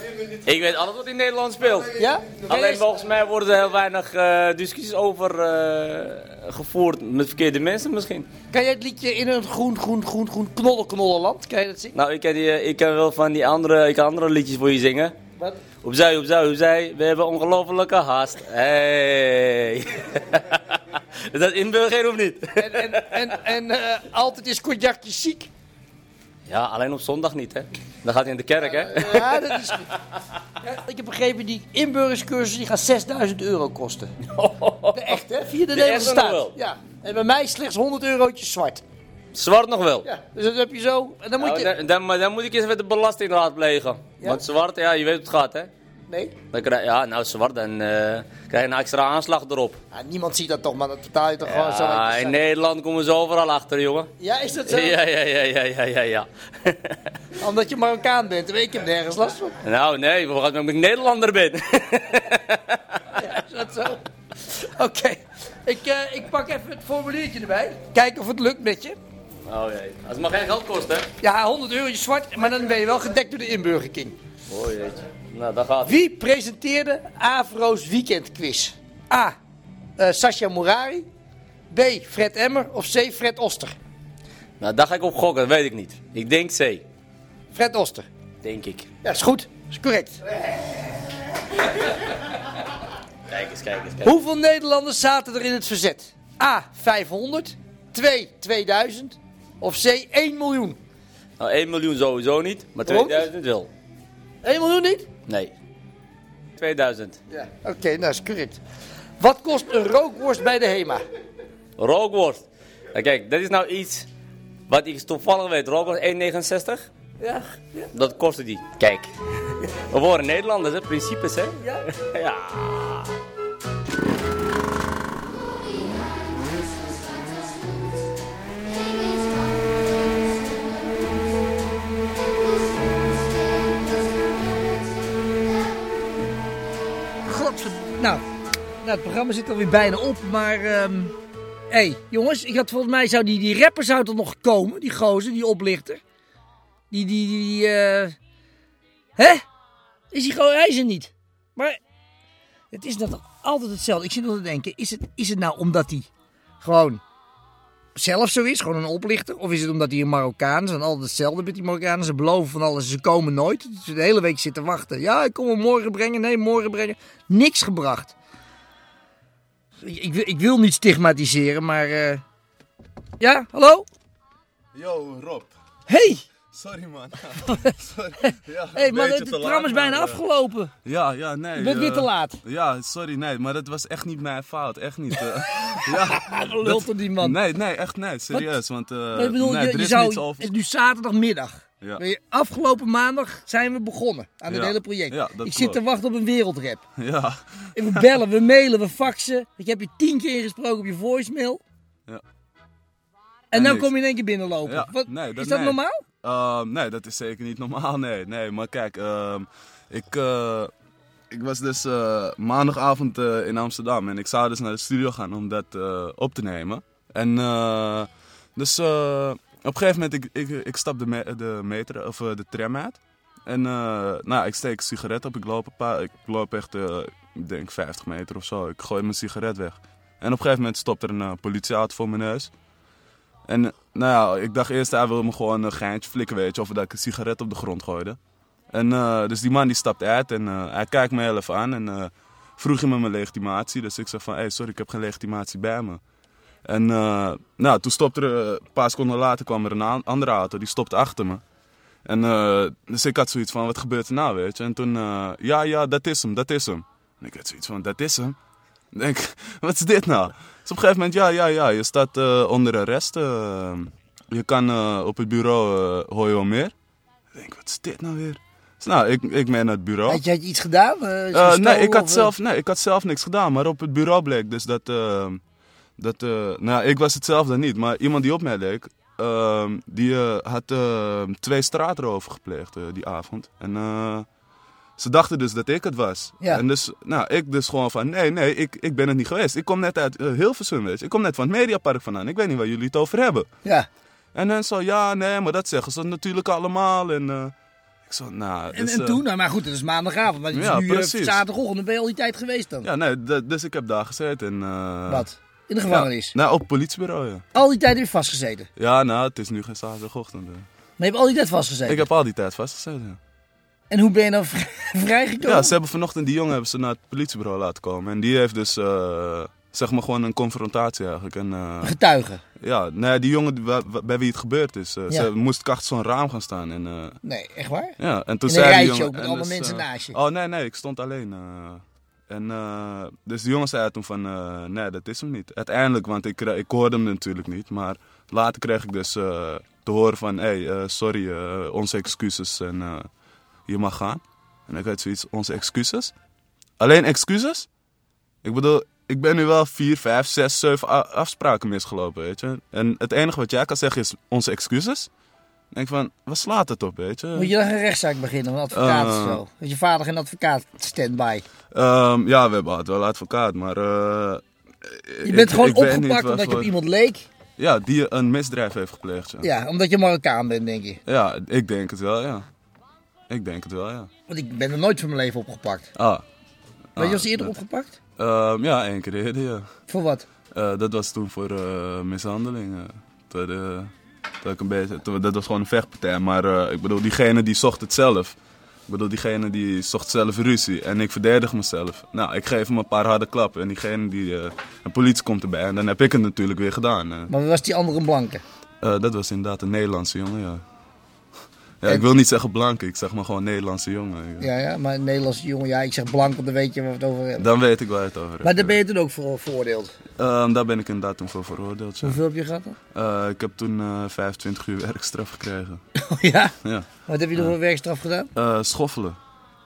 Speaker 16: Ik weet alles wat in Nederland speelt.
Speaker 5: Ja?
Speaker 16: Alleen volgens mij worden er heel weinig eh, discussies over eh, gevoerd met verkeerde mensen misschien.
Speaker 5: Kan jij het liedje in een groen, groen, groen, groen knollen, knollen land? Kan je dat zien?
Speaker 16: Nou, ik kan, die, ik kan wel van die andere, ik kan andere liedjes voor je zingen.
Speaker 5: Wat?
Speaker 16: Opzij, opzij, opzij, we hebben ongelofelijke haast. Hey. (laughs) Is dat inburgeren of niet?
Speaker 5: En, en, en, en eh, altijd is cognacje ziek.
Speaker 16: Ja, alleen op zondag niet, hè? Dan gaat hij in de kerk, hè?
Speaker 5: Ja, dat is Ja, Ik heb begrepen, die inburgerscursus die gaat 6000 euro
Speaker 16: (laughs)
Speaker 5: kosten. De echt, hè? Via de,
Speaker 16: De
Speaker 5: Nederlandse
Speaker 16: echte nog
Speaker 5: staat.
Speaker 16: wel.
Speaker 5: Ja. En bij mij slechts 100 eurotjes zwart.
Speaker 16: Zwart nog wel.
Speaker 5: Ja, dus dat heb je zo. En dan moet
Speaker 16: Nou,
Speaker 5: je...
Speaker 16: dan, dan, maar dan moet ik eens met de belastingraad plegen. Want zwart, ja, je weet hoe het gaat, hè?
Speaker 5: Nee?
Speaker 16: Dan krijg, ja, nou, zwart, dan eh, krijg je een extra aanslag erop.
Speaker 5: Ja, niemand ziet dat toch, maar dat betaal je toch gewoon zo.
Speaker 16: Ja, in Nederland komen ze overal achter, jongen.
Speaker 5: Ja, is dat zo?
Speaker 16: Ja, ja, ja, ja, ja, ja, ja.
Speaker 5: Omdat je Marokkaan bent. Ik heb nergens last van. (laughs)
Speaker 16: Nou, nee, we gaan omdat ik Nederlander ben.
Speaker 5: Is dat zo? (laughs) Oké. Ik, eh, ik pak even het formuliertje erbij. Kijken of het lukt met je.
Speaker 16: Oh jee. Het mag geen geld kosten, hè?
Speaker 5: Ja, 100 euro zwart, maar dan ben je wel gedekt door de inburgerking.
Speaker 16: Oh jeetje. Nou, daar gaat
Speaker 5: Wie presenteerde Avro's weekendquiz? A. eh Sascha Morari. B. Fred Emmer. Of C. Fred Oster.
Speaker 16: Nou, daar ga ik op gokken, dat weet ik niet. Ik denk C.
Speaker 5: Fred Oster.
Speaker 16: Denk ik.
Speaker 5: Ja, is goed. Is correct.
Speaker 16: Kijk eens, kijk eens, kijk
Speaker 5: Hoeveel Nederlanders zaten er in het verzet? A. 500. 2. 2000. Of C. 1 miljoen.
Speaker 16: Nou, 1 miljoen sowieso niet, maar
Speaker 5: Waarom?
Speaker 16: 2000 wel.
Speaker 5: 1 miljoen niet?
Speaker 16: Nee. 2000.
Speaker 5: Ja. Oké, nou is correct. Wat kost een rookworst bij de E HEMA?
Speaker 16: Rookworst. Nou, kijk, dat is nou iets wat ik toevallig weet. Rookworst 1,69?
Speaker 5: Ja.
Speaker 16: Dat kostte die. Kijk. We worden Nederlanders, hè? Principes, hè?
Speaker 5: Ja.
Speaker 16: (laughs) ja.
Speaker 5: Godverd- Nou, nou, het programma zit alweer bijna op, maar... ehm Hé, jongens, ik had volgens mij zou die, die rapper zou toch nog komen, die gozer, die oplichter. Die, die, die, die, eh, Hè? Is hij gewoon, hij is er niet. Maar het is dat altijd hetzelfde. Ik zit nog te denken, is het, is het nou omdat hij gewoon zelf zo is, gewoon een oplichter? Of is het omdat hij een Marokkaan is en altijd hetzelfde met die Marokkanen? Ze beloven van alles, ze komen nooit. Dus de hele week zitten wachten. Ja, ik kom hem morgen brengen, nee, morgen brengen. Niks gebracht. Ik, ik, wil- ik wil niet stigmatiseren, maar... eh, Ja, hallo?
Speaker 6: Yo, Rob. (laughs)
Speaker 5: Hey!
Speaker 6: Sorry
Speaker 5: (laughs)
Speaker 6: man.
Speaker 5: Hé hey, man, het programma is
Speaker 6: eh,
Speaker 5: bijna afgelopen.
Speaker 6: Ja, ja, nee.
Speaker 5: Je bent weer
Speaker 6: eh,
Speaker 5: te laat.
Speaker 6: Ja, sorry, nee, maar dat was echt niet mijn fout. Echt niet.
Speaker 5: (laughs)
Speaker 6: eh. ja,
Speaker 5: Gelul tot die man.
Speaker 6: Nee, nee, echt nee, serieus. Want eh,
Speaker 5: Maar ik bedoel,
Speaker 6: nee,
Speaker 5: je,
Speaker 6: er
Speaker 5: je
Speaker 6: is
Speaker 5: zou,
Speaker 6: niets over. (laughs)
Speaker 5: het is nu zaterdagmiddag.
Speaker 6: Ja.
Speaker 5: Ben je- Afgelopen maandag zijn we begonnen aan het
Speaker 6: Ja.
Speaker 5: hele project.
Speaker 6: Ja,
Speaker 5: ik
Speaker 6: dat
Speaker 5: zit
Speaker 6: klopt.
Speaker 5: te wachten op een wereldrap.
Speaker 6: Ja,
Speaker 5: En we bellen, we mailen, we faxen. Ik heb je tien keer ingesproken op je voicemail.
Speaker 6: ja.
Speaker 5: En
Speaker 6: En
Speaker 5: dan
Speaker 6: niks.
Speaker 5: kom je in één keer binnenlopen.
Speaker 6: Ja,
Speaker 5: Wat, is
Speaker 6: nee,
Speaker 5: dat
Speaker 6: nee.
Speaker 5: normaal?
Speaker 6: Ehm, nee, dat is zeker niet normaal. (laughs) Nee, nee. Maar kijk, ehm, ik, eh, ik was dus eh, maandagavond eh, in Amsterdam en ik zou dus naar de studio gaan om dat eh, op te nemen. En eh, dus eh, op een gegeven moment, ik, ik, ik stap de, me- de meter of eh, de tram uit. En eh, nou, ik steek een sigaret op. Ik loop, een paar, ik loop echt, eh, ik denk 50 meter of zo. Ik gooi mijn sigaret weg. En op een gegeven moment stopt er een eh, politieauto voor mijn neus. En eh, nou ja, ik dacht eerst, hij wil me gewoon een geintje flikken, weet je. Of dat ik een sigaret op de grond gooide. En eh, dus die man die stapt uit en eh, hij kijkt me heel even aan. En eh, vroeg hij me mijn legitimatie. Dus ik zeg van, hey, sorry, ik heb geen legitimatie bij me. En eh, nou, toen stopte er, eh, een paar seconden later kwam er een a- andere auto. Die stopte achter me. En eh, dus ik had zoiets van, wat gebeurt er nou, weet je. En toen, eh, ja, ja, dat is hem, dat is hem. En ik had zoiets van, dat is hem. Ik denk, (laughs) wat is dit nou? Dus op een gegeven moment, ja, ja, ja, je staat eh, onder arrest. eh, je kan eh, op het bureau, eh, hoor je wel meer. Ik denk, wat is dit nou weer? Dus nou, ik, ik ben naar het bureau.
Speaker 5: Had jij iets gedaan? Eh,
Speaker 6: Eh,
Speaker 5: gestolen
Speaker 6: nee, ik
Speaker 5: of,
Speaker 6: had
Speaker 5: eh?
Speaker 6: zelf, nee, ik had zelf niks gedaan. Maar op het bureau bleek dus dat... ehm, dat eh, nou, ja, ik was het zelf dan niet. Maar iemand die op mij leek, ehm, die eh, had ehm, twee straatroven gepleegd eh, die avond. En eh, ze dachten dus dat ik het was.
Speaker 5: Ja.
Speaker 6: En dus, nou, ik dus gewoon van, nee, nee, ik, ik ben het niet geweest. Ik kom net uit heel Hilversum, weet je. Ik kom net van het Mediapark vandaan. Ik weet niet waar jullie het over hebben.
Speaker 5: Ja.
Speaker 6: En dan zo, ja, nee, maar dat zeggen ze natuurlijk allemaal. En eh, ik zo, nou...
Speaker 5: En,
Speaker 6: dus,
Speaker 5: en
Speaker 6: eh,
Speaker 5: toen? Nou, maar goed, het is maandagoavond. Maar het is
Speaker 6: Ja,
Speaker 5: nu eh,
Speaker 6: precies.
Speaker 5: zaterdagochtend. Dan ben je al die tijd geweest dan.
Speaker 6: Ja, nee, d- dus ik heb daar gezeten. En, eh,
Speaker 5: Wat? In de gevangenis?
Speaker 6: Ja, nou, op het politiebureau, ja.
Speaker 5: Al die tijd weer vastgezeten.
Speaker 6: Ja, nou, het is nu geen zaterdagochtend. hè.
Speaker 5: Maar je hebt al die tijd vastgezeten.
Speaker 6: Ik heb al die tijd vastgezeten. ja.
Speaker 5: En hoe ben je dan vrij- (laughs) vrijgekomen?
Speaker 6: Ja, ze hebben vanochtend die jongen hebben ze naar het politiebureau laten komen. En die heeft dus, eh, zeg maar, gewoon een confrontatie eigenlijk. En, eh,
Speaker 5: Getuigen.
Speaker 6: Ja, nee, die jongen wa- wa- bij wie het gebeurd is. eh,
Speaker 5: Ja.
Speaker 6: Ze moest achter zo'n raam gaan staan. En, eh,
Speaker 5: Nee, echt waar?
Speaker 6: Ja, en toen
Speaker 5: In een
Speaker 6: zei die
Speaker 5: rijtje
Speaker 6: jongen,
Speaker 5: ook met
Speaker 6: en
Speaker 5: allemaal mensen
Speaker 6: eh,
Speaker 5: naast je.
Speaker 6: Oh, nee, nee, ik stond alleen. eh. en eh, dus de jongen zei toen van, eh, nee, dat is hem niet. Uiteindelijk, want ik, kre- ik hoorde hem natuurlijk niet. Maar later kreeg ik dus eh, te horen van, hé, hey, eh, sorry, eh, onze excuses en eh, je mag gaan. En ik had zoiets, onze excuses? Alleen excuses? Ik bedoel, ik ben nu wel vier, vijf, zes, zeven a- afspraken misgelopen, weet je. En het enige wat jij kan zeggen is onze excuses. Dan denk ik van, waar slaat het op, weet je?
Speaker 5: Moet je dan een rechtszaak beginnen, een advocaat of
Speaker 6: Eh.
Speaker 5: zo? Dat je vader geen advocaat stand-by.
Speaker 6: Ehm, ja, we hebben had wel advocaat, maar... eh,
Speaker 5: Je
Speaker 6: ik-
Speaker 5: bent gewoon
Speaker 6: ik weet niet
Speaker 5: opgepakt
Speaker 6: wat
Speaker 5: omdat je op
Speaker 6: voor-
Speaker 5: iemand leek.
Speaker 6: Ja, die een misdrijf heeft gepleegd, ja.
Speaker 5: Ja, omdat je Marokkaan bent, denk je.
Speaker 6: Ja, ik denk het wel, ja. Ik denk het wel, ja.
Speaker 5: Want ik ben er nooit van mijn leven opgepakt.
Speaker 6: Ah.
Speaker 5: Weet je
Speaker 6: Ah,
Speaker 5: als eerder
Speaker 6: dat-
Speaker 5: opgepakt?
Speaker 6: Ehm, ja, één keer eerder, ja.
Speaker 5: Voor wat?
Speaker 6: Eh, dat was toen voor eh, mishandeling. eh. Toen, eh, toen ik een beetje, toen- dat was gewoon een vechtpartij. Maar eh, ik bedoel, diegene die zocht het zelf. Ik bedoel, diegene die zocht zelf ruzie. En ik verdedig mezelf. Nou, ik geef hem een paar harde klappen. En diegene die... eh, de politie komt erbij. En dan heb ik het natuurlijk weer gedaan. eh.
Speaker 5: Maar was die andere een blanke?
Speaker 6: Eh, dat was inderdaad een Nederlandse jongen, ja. Ja,
Speaker 5: En-
Speaker 6: ik wil niet zeggen blank, ik zeg maar gewoon Nederlandse jongen. ja.
Speaker 5: Ja, ja, maar een Nederlandse jongen. Ja, ik zeg blank, want dan weet je waar we het over hebben.
Speaker 6: Dan weet ik waar je het over hebt.
Speaker 5: Maar daar ben je toen ook voor veroordeeld.
Speaker 6: Ehm, daar ben ik inderdaad toen voor veroordeeld. ja.
Speaker 5: Hoeveel heb je gehad dan?
Speaker 6: Eh, ik heb toen eh 25 uur werkstraf
Speaker 5: (laughs)
Speaker 6: gekregen.
Speaker 5: Oh, ja?
Speaker 6: Ja.
Speaker 5: Wat heb je nog voor werkstraf gedaan?
Speaker 6: Eh, schoffelen.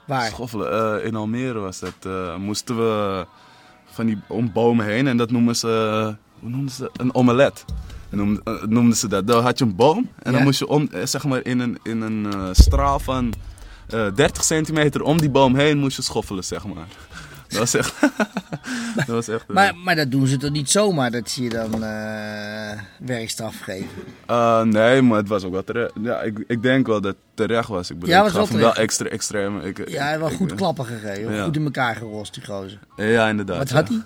Speaker 5: Waar?
Speaker 6: Schoffelen. Eh, in Almere was dat. Eh, moesten we van die om bomen heen en dat noemen ze. eh, Hoe noemden ze dat? Een omelet. En noem- eh, noemden ze dat. Dan had je een boom en dan
Speaker 17: Ja.
Speaker 6: moest je om, eh, zeg maar in een, in een eh, straal van eh, 30 centimeter om die boom heen moest je schoffelen, zeg maar. Dat was echt. (laughs) dat was echt eh,
Speaker 5: Maar, maar dat doen ze toch niet zomaar, dat ze je dan eh, werkstraf geven?
Speaker 6: Eh, nee, maar het was ook wel terecht. Ja, ik, ik denk wel dat het terecht was. Ik bedoel,
Speaker 5: Ja,
Speaker 6: ja,
Speaker 5: was
Speaker 6: ik gaf
Speaker 5: wel
Speaker 6: hem wel
Speaker 5: terecht.
Speaker 6: extra extreem. Ik,
Speaker 5: Ja, hij
Speaker 6: ik-
Speaker 5: wel
Speaker 6: ik-
Speaker 5: goed klappen gegeven.
Speaker 6: Ja.
Speaker 5: Goed in elkaar gerost, die gozer.
Speaker 6: Ja, inderdaad.
Speaker 5: Wat
Speaker 6: ja.
Speaker 5: had hij?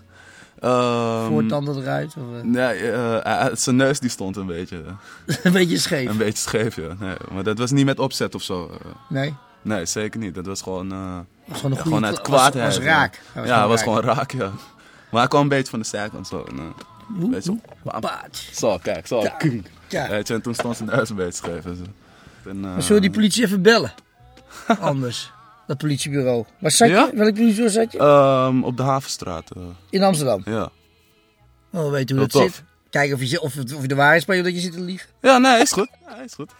Speaker 6: Ehm,
Speaker 5: Voortanden eruit? Of, eh?
Speaker 6: Nee, eh, hij- zijn neus die stond een beetje. eh.
Speaker 5: (laughs) Een beetje scheef.
Speaker 6: Een beetje scheef, ja. Nee, maar dat was niet met opzet of zo. eh.
Speaker 5: Nee?
Speaker 6: Nee, zeker niet. Dat was gewoon. eh,
Speaker 5: was gewoon een
Speaker 6: ja,
Speaker 5: goede
Speaker 6: uit
Speaker 5: kla- was-
Speaker 6: kwaadheid.
Speaker 5: was
Speaker 6: ja.
Speaker 5: raak. Hij
Speaker 6: Ja,
Speaker 5: was
Speaker 6: hij was
Speaker 5: gewoon
Speaker 6: gewoon raak, ja. Maar hij kwam een beetje van de zijkant zo. en, eh,
Speaker 5: Hoe-
Speaker 6: weet je,
Speaker 5: hoe-
Speaker 6: bam.
Speaker 5: Paats.
Speaker 6: Zo, kijk, zo.
Speaker 5: Ja,
Speaker 6: kung.
Speaker 5: ja.
Speaker 6: Weet je, en toen stond zijn neus een beetje scheef. en zo. En, eh,
Speaker 5: Maar zullen we die politie even bellen? Anders. Dat politiebureau. Waar zat
Speaker 6: Ja?
Speaker 5: je? Welk politiebureau zat je?
Speaker 6: ehm, op de Havenstraat. eh.
Speaker 5: In Amsterdam.
Speaker 6: Ja.
Speaker 5: Oh, we weten hoe
Speaker 6: Heel
Speaker 5: dat
Speaker 6: tof.
Speaker 5: zit. Kijken of je, zi- of, het- of je de waarheid spreekt of dat je zit te liegen.
Speaker 6: Ja, nee, is goed. Ja, is goed.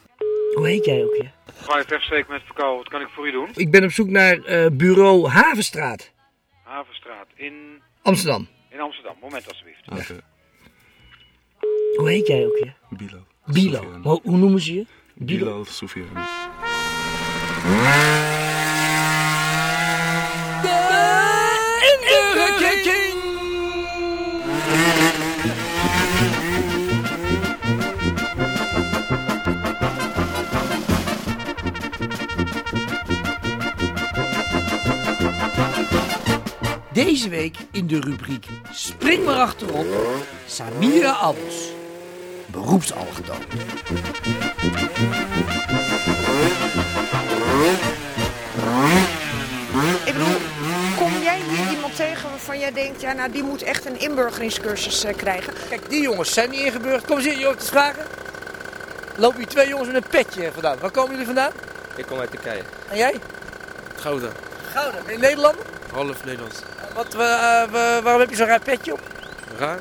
Speaker 5: Hoe heet jij ook, ja?
Speaker 17: Ga je verstreek met verkouden, wat kan ik voor u doen?
Speaker 5: Ik ben op zoek naar eh, bureau Havenstraat,
Speaker 17: Havenstraat in,
Speaker 5: Amsterdam.
Speaker 17: in Amsterdam, moment alsjeblieft.
Speaker 5: Hoe heet jij ook, ja?
Speaker 6: Bilo.
Speaker 5: Bilo. Ho- hoe noemen ze je?
Speaker 6: Bilo Sofian.
Speaker 14: Burger King.
Speaker 5: Deze week in de rubriek Spring maar achterop, Samira Abels. Beroepsalgedood.
Speaker 18: Ik bedoel, kom jij hier iemand tegen waarvan jij denkt, ja, nou die moet echt een inburgeringscursus eh, krijgen?
Speaker 5: Kijk, die jongens zijn niet ingeburgerd. Kom eens hier, jongens, te vragen. Lopen hier twee jongens met een petje vandaan. Waar komen jullie vandaan?
Speaker 19: Ik kom uit Turkije.
Speaker 5: En jij?
Speaker 19: Gouda.
Speaker 5: Gouden. Ben je Nederlander?
Speaker 19: Half Nederlands.
Speaker 5: Wat, eh, eh, wa- waarom heb je zo'n raar petje op?
Speaker 19: Raar?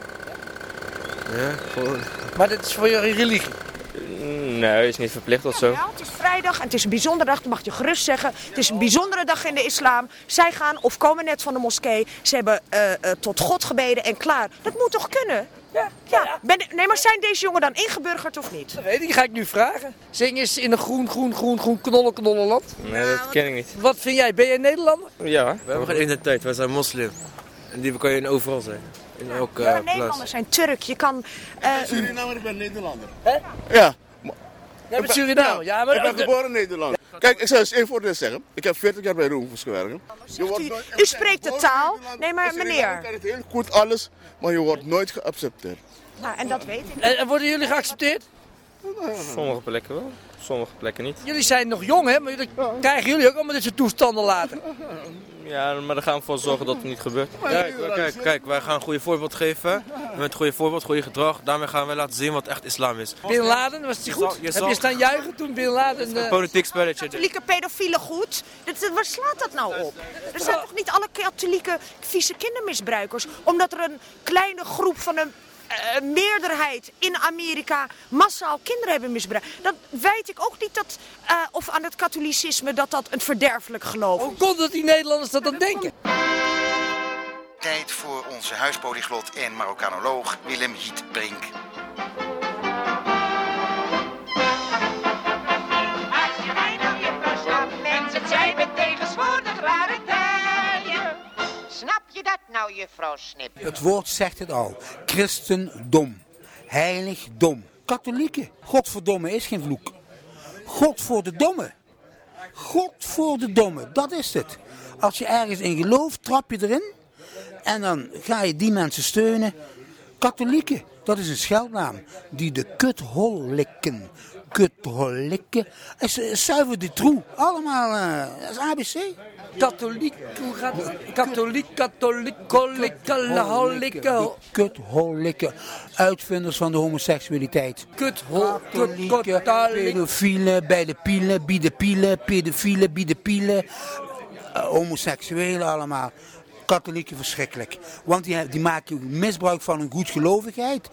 Speaker 19: Ja, gewoon. Mm,
Speaker 5: Maar dit is voor je religie.
Speaker 19: Nee, is niet verplicht of zo.
Speaker 18: Ja, het is vrijdag en het is een bijzondere dag, dat mag je gerust zeggen. Het is een bijzondere dag in de islam. Zij gaan of komen net van de moskee. Ze hebben eh, eh, tot God gebeden en klaar. Dat moet toch kunnen? Ja. Ben, nee, maar zijn deze jongen dan ingeburgerd of niet?
Speaker 19: Eh,
Speaker 5: Dat weet ik, die ga ik nu vragen. Zing eens in een groen, groen, groen, groen, knollen, knollen land.
Speaker 19: Nee, dat ken ik niet.
Speaker 5: Wat vind jij? Ben jij Nederlander?
Speaker 19: Ja. We hebben geen identiteit, wij zijn moslim. En die kan je in overal zijn. In elke
Speaker 18: Ja,
Speaker 19: eh,
Speaker 18: Nederlanders
Speaker 19: plaats.
Speaker 18: zijn Turk. Je kan... eh,
Speaker 20: ik ben Nederlander.
Speaker 5: Hè?
Speaker 20: Ja.
Speaker 5: Jij bent Suriname. Ja, maar
Speaker 20: ik ben geboren in Nederland. Kijk, ik zou eens één voordeel zeggen. Ik heb 40 jaar bij Roemfels gewerkt. Nou, Je wordt
Speaker 18: U,
Speaker 20: nooit-
Speaker 18: u spreekt de taal. Nee, maar
Speaker 20: Als je in Nederland
Speaker 18: meneer.
Speaker 20: kan het heel goed alles, maar je wordt nooit geaccepteerd.
Speaker 18: Nou, en dat weet ik.
Speaker 5: En, en worden jullie geaccepteerd?
Speaker 19: Sommige plekken wel, sommige plekken niet.
Speaker 5: Jullie zijn nog jong, hè? Maar dat krijgen jullie ook allemaal dit soort toestanden later.
Speaker 19: Ja, maar daar gaan we voor zorgen dat het niet gebeurt.
Speaker 5: Maar
Speaker 19: Kijk,
Speaker 5: jullie
Speaker 19: wij- kijk, kijk, wij gaan een goede voorbeeld geven. Met goede voorbeeld, goede gedrag. Daarmee gaan wij laten zien wat echt islam is.
Speaker 5: Bin Laden, was die
Speaker 19: Je
Speaker 5: goed?
Speaker 19: zal- je
Speaker 5: Heb
Speaker 19: zal-
Speaker 5: je staan juichen toen Bin Laden... eh,
Speaker 19: Politiek spelletje. dit.
Speaker 18: Katholieke pedofielen goed. Dat, dat- waar slaat dat nou op? Er zijn toch niet alle katholieke vieze kindermisbruikers? Omdat er een kleine groep van een eh, meerderheid in Amerika massaal kinderen hebben misbruikt. Dan weet ik ook niet dat, eh, of aan het katholicisme dat dat een verderfelijk geloof is. Hoe
Speaker 5: komt dat die Nederlanders dat dan denken?
Speaker 13: Tijd voor onze huispolyglot en Marokkanoloog Willem Hietbrink.
Speaker 18: Als je mij nou je verstaat,
Speaker 14: mensen zijn
Speaker 18: met tegenwoordig rare tijden.
Speaker 14: Snap je dat nou, juffrouw Snip?
Speaker 15: Het woord zegt het al. Christendom. Heiligdom. Katholieken. Godverdomme is geen vloek. God voor de domme. God voor de domme. Dat is het. Als je ergens in gelooft, trap je erin. En dan ga je die mensen steunen. Katholieken. Dat is een scheldnaam. Die de kuthol likken. Kuthol likken. En ze- eh, Zuiver de troe. Allemaal. eh, dat is ABC.
Speaker 5: Katholiek, hoe gaat het? Katholiek, katholiek, kolik, katholieke.
Speaker 15: Kutholikken. Uitvinders van de homoseksualiteit.
Speaker 5: Kuthol,
Speaker 15: Katholieken, pedofielen, bij de pielen, bieden pielen, pedofielen, bieden pielen. Eh, homoseksuelen allemaal. Katholieken verschrikkelijk. Want die, he- die maken misbruik van hun goedgelovigheid.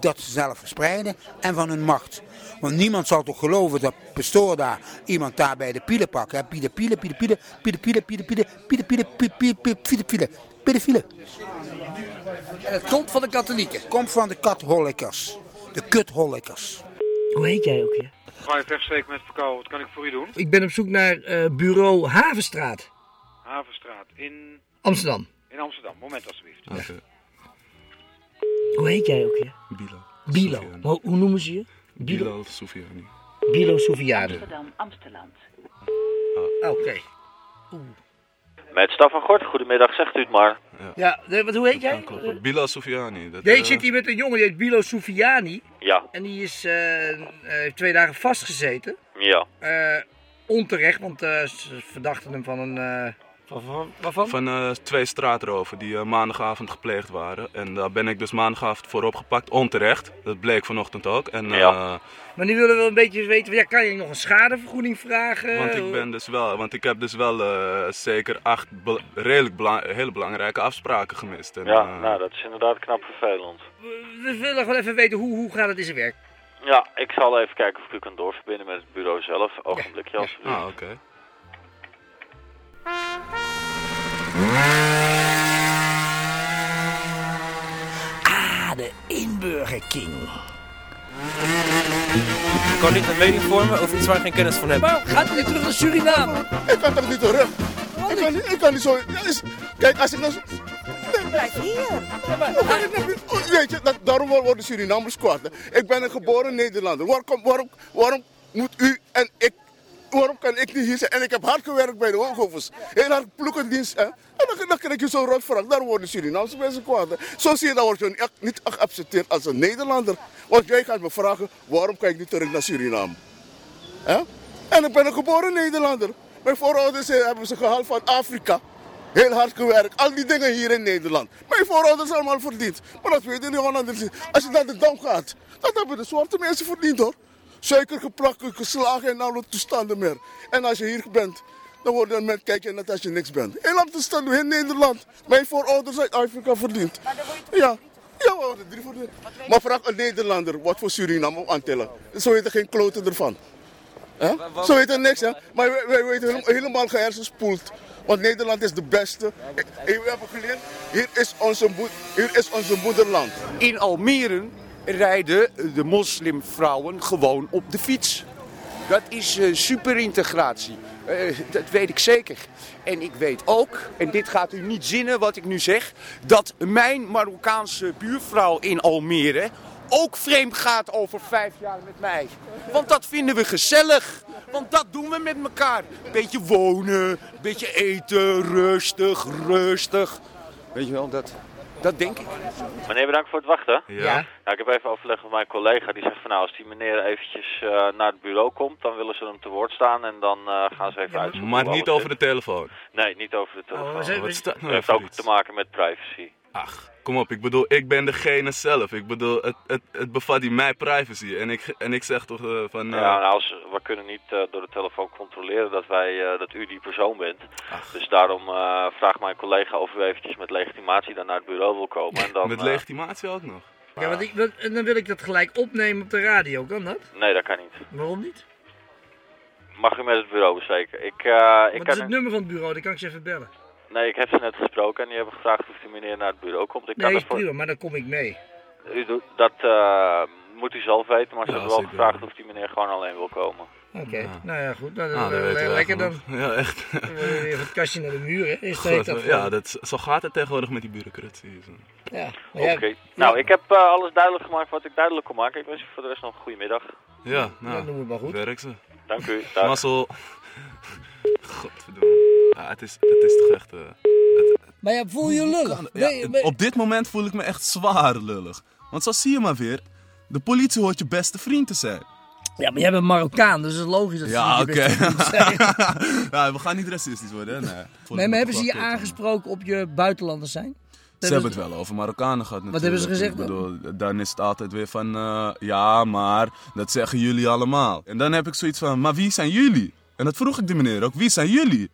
Speaker 15: Dat ze zelf verspreiden. En van hun macht. Want niemand zal toch geloven dat pastoor daar iemand daar bij de pielen pakt. hè? Pielen, pielen, pielen, pielen, pielen, pielen, pielen, pielen, pielen, pielen, pielen, pielen, pielen, pielen, pielen, pedofielen.
Speaker 5: En het komt van de katholieken.
Speaker 15: Komt van de katholikkers. De kuthollikers.
Speaker 5: Hoe heet jij ook, ja?
Speaker 17: Ga je verstreek met verkouden, wat kan ik voor u doen?
Speaker 5: Ik ben op zoek naar eh, bureau Havenstraat,
Speaker 17: Havenstraat in,
Speaker 5: Amsterdam.
Speaker 17: in Amsterdam, moment alsjeblieft.
Speaker 5: Ah, Hoe heet jij ook, ja?
Speaker 6: Bilo.
Speaker 5: Bilo. Ho- hoe noemen ze je?
Speaker 6: Bilo Sofiani.
Speaker 5: Bilo Souviade.
Speaker 21: Amsterdam, Amsterdam.
Speaker 5: Oké.
Speaker 22: Met Staf van Gort, goedemiddag, zegt u het maar.
Speaker 5: Ja, nee, wat, hoe heet jij?
Speaker 6: Bilo Sofiani. dat,
Speaker 5: Deze
Speaker 6: eh,
Speaker 5: zit hier met een jongen, die heet Bilo Soufiani.
Speaker 22: Ja,
Speaker 5: En die is eh, eh, heeft twee dagen vastgezeten.
Speaker 22: ja.
Speaker 5: Eh, onterecht, want eh, ze verdachten hem van een eh, Waarvan?
Speaker 21: Van eh, twee straatroven die eh, maandagavond gepleegd waren. En daar ben ik dus maandagavond voor opgepakt, onterecht. Dat bleek vanochtend ook. En, eh,
Speaker 22: Ja.
Speaker 5: Maar nu willen we wel een beetje weten, ja, kan je nog een schadevergoeding vragen?
Speaker 21: Want ik ben dus wel, want ik heb dus wel eh, zeker acht bel- redelijk bela- hele belangrijke afspraken gemist. En,
Speaker 22: Ja,
Speaker 21: eh,
Speaker 22: nou dat is inderdaad knap vervelend.
Speaker 5: We willen gewoon even weten, hoe, hoe gaat het in zijn werk?
Speaker 22: Ja, ik zal even kijken of ik u kan doorverbinden met het bureau zelf. Ogenblikje alsjeblieft.
Speaker 21: Ah, oké.
Speaker 14: Ah, de Inburger King.
Speaker 19: Ik kan niet een mening vormen over iets waar ik geen kennis van heb.
Speaker 5: Maar gaat u weer terug naar Suriname?
Speaker 20: Ik kan toch niet terug? Ik kan, niet- ik kan niet zo... ja, is- Kijk, als ik dan... zo-
Speaker 18: Blijf hier.
Speaker 20: Hoe kan ik dat niet- oh, Weet je, dat, daarom worden Surinamers kwaad. hè. Ik ben een geboren Nederlander. Waar kom- waarom, waarom moet u en ik... Waarom kan ik niet hier zijn? En ik heb hard gewerkt bij de hoogovens. Heel hard ploekendienst. Hè? En dan, dan krijg je zo'n rood vraag. Daar worden Surinaamse mensen kwaad. hè. Zo zie je, dan word je niet, niet geaccepteerd als een Nederlander. Want jij gaat me vragen, waarom kan ik niet terug naar Suriname? Hè? En ik ben een geboren Nederlander. Mijn voorouders eh, hebben ze gehaald van Afrika. Heel hard gewerkt, al die dingen hier in Nederland. Mijn voorouders allemaal verdiend. Maar dat weten die Hollanders niet. Als je naar de Dam gaat, dat hebben de zwarte mensen verdiend hoor. Suiker geplakt, geslagen en alle toestanden meer. En als je hier bent, dan wordt er met kijken net als je niks bent. Heel op de stand in Nederland. Mijn voorouders uit Afrika verdiend. Ja. Ja, we worden drie verdiend. Maar vraag een Nederlander wat voor Suriname we aantillen. Ze weten geen kloten ervan. Hè? Ze weten niks, hè? Maar wij, wij weten hele- helemaal gehersenspoeld. Want Nederland is de beste. En we hebben geleerd, hier is onze, moed- hier is onze moederland.
Speaker 23: In Almere rijden de moslimvrouwen gewoon op de fiets. Dat is eh, superintegratie. Eh, dat weet ik zeker. En ik weet ook, en dit gaat u niet zinnen wat ik nu zeg, dat mijn Marokkaanse buurvrouw in Almere ook vreemd gaat over vijf jaar met mij. Want dat vinden we gezellig. Want dat doen we met elkaar. Beetje wonen, beetje eten, rustig, rustig. Weet je wel, dat, dat denk ik.
Speaker 22: Meneer, bedankt voor het wachten.
Speaker 23: Ja.
Speaker 22: Nou, ik heb even overleg met mijn collega. Die zegt van nou, als die meneer eventjes eh, naar het bureau komt, dan willen ze hem te woord staan en dan eh, gaan ze even uitzoeken.
Speaker 21: Maar
Speaker 22: hoe
Speaker 21: niet
Speaker 22: alles
Speaker 21: over de telefoon.
Speaker 22: zit. Nee, niet over de telefoon.
Speaker 21: Oh, ze- Wat staat nou
Speaker 22: Het heeft
Speaker 21: even
Speaker 22: ook te maken met privacy.
Speaker 21: Ach, kom op, ik bedoel, ik ben degene zelf. Ik bedoel, het, het, het bevat in mijn privacy. En ik, en ik zeg toch eh, van... eh,
Speaker 22: Ja, nou, als, we kunnen niet eh, door de telefoon controleren dat, wij, eh, dat u die persoon bent. Dus daarom eh, vraagt mijn collega of u eventjes met legitimatie dan naar het bureau wil komen. En dan,
Speaker 21: met
Speaker 22: eh,
Speaker 21: legitimatie ook nog.
Speaker 5: Ja, want ik, dat- en dan wil ik dat gelijk opnemen op de radio, kan dat?
Speaker 22: nee, dat kan niet.
Speaker 5: Waarom niet?
Speaker 22: Mag u met het bureau zeker. Ik, eh, ik kan
Speaker 5: Want het is het nummer van het bureau, dan kan ik ze even bellen.
Speaker 22: Nee, ik heb ze net gesproken en die hebben gevraagd of die meneer naar het bureau komt. Ik kan
Speaker 5: Nee, is
Speaker 22: ervoor-
Speaker 5: prima, maar dan kom ik mee.
Speaker 22: U doet- dat eh, moet u zelf weten, maar ze
Speaker 5: Ja,
Speaker 22: hebben wel
Speaker 5: zeker.
Speaker 22: gevraagd of die meneer gewoon alleen wil komen.
Speaker 5: Oké, nou ja, goed. Nou,
Speaker 21: Ah,
Speaker 5: dan,
Speaker 21: dat weten we
Speaker 5: lekker dan.
Speaker 21: eigenlijk wel. Ja, echt.
Speaker 5: Dan wil je Weer het kastje naar de muur, hè?
Speaker 21: (laughs)
Speaker 5: Is
Speaker 21: God,
Speaker 5: dat dat
Speaker 21: ja, dat, is- zo gaat het tegenwoordig met die
Speaker 6: dus,
Speaker 21: bureaucratie.
Speaker 6: eh.
Speaker 5: Ja.
Speaker 22: Oké. Nou, ik heb eh, alles duidelijk gemaakt wat ik duidelijk kon maken. Ik wens u voor de rest nog een goede middag.
Speaker 21: Ja, nou,
Speaker 22: Dat noemen we maar goed.
Speaker 21: werk ze.
Speaker 22: Dank u. Dag.
Speaker 21: Mazzel. Godverdomme. Ja, het, is, het is toch echt... eh,
Speaker 5: Maar ja, voel je lullig.
Speaker 21: Ja,
Speaker 5: Nee, maar-
Speaker 6: Op dit moment voel ik me echt zwaar lullig. Want zo zie je maar weer, de politie hoort je beste vriend te zijn.
Speaker 5: Ja, maar jij bent Marokkaan, dus het is logisch dat ze
Speaker 6: Ja,
Speaker 5: niet
Speaker 6: oké.
Speaker 5: je beste vriend zijn.
Speaker 6: (laughs) Ja, we gaan niet racistisch worden, hè? Nee, Voel
Speaker 5: Nee,
Speaker 6: ik me
Speaker 5: maar hebben ze je
Speaker 6: gewoon kut.
Speaker 5: aangesproken op je buitenlanders zijn?
Speaker 6: Ze hebben het wel over Marokkanen gehad natuurlijk.
Speaker 5: Wat hebben ze gezegd
Speaker 6: Ik bedoel, dan is het altijd weer van, eh, ja, maar dat zeggen jullie allemaal. En dan heb ik zoiets van, maar wie zijn jullie? En dat vroeg ik die meneer ook, wie zijn jullie?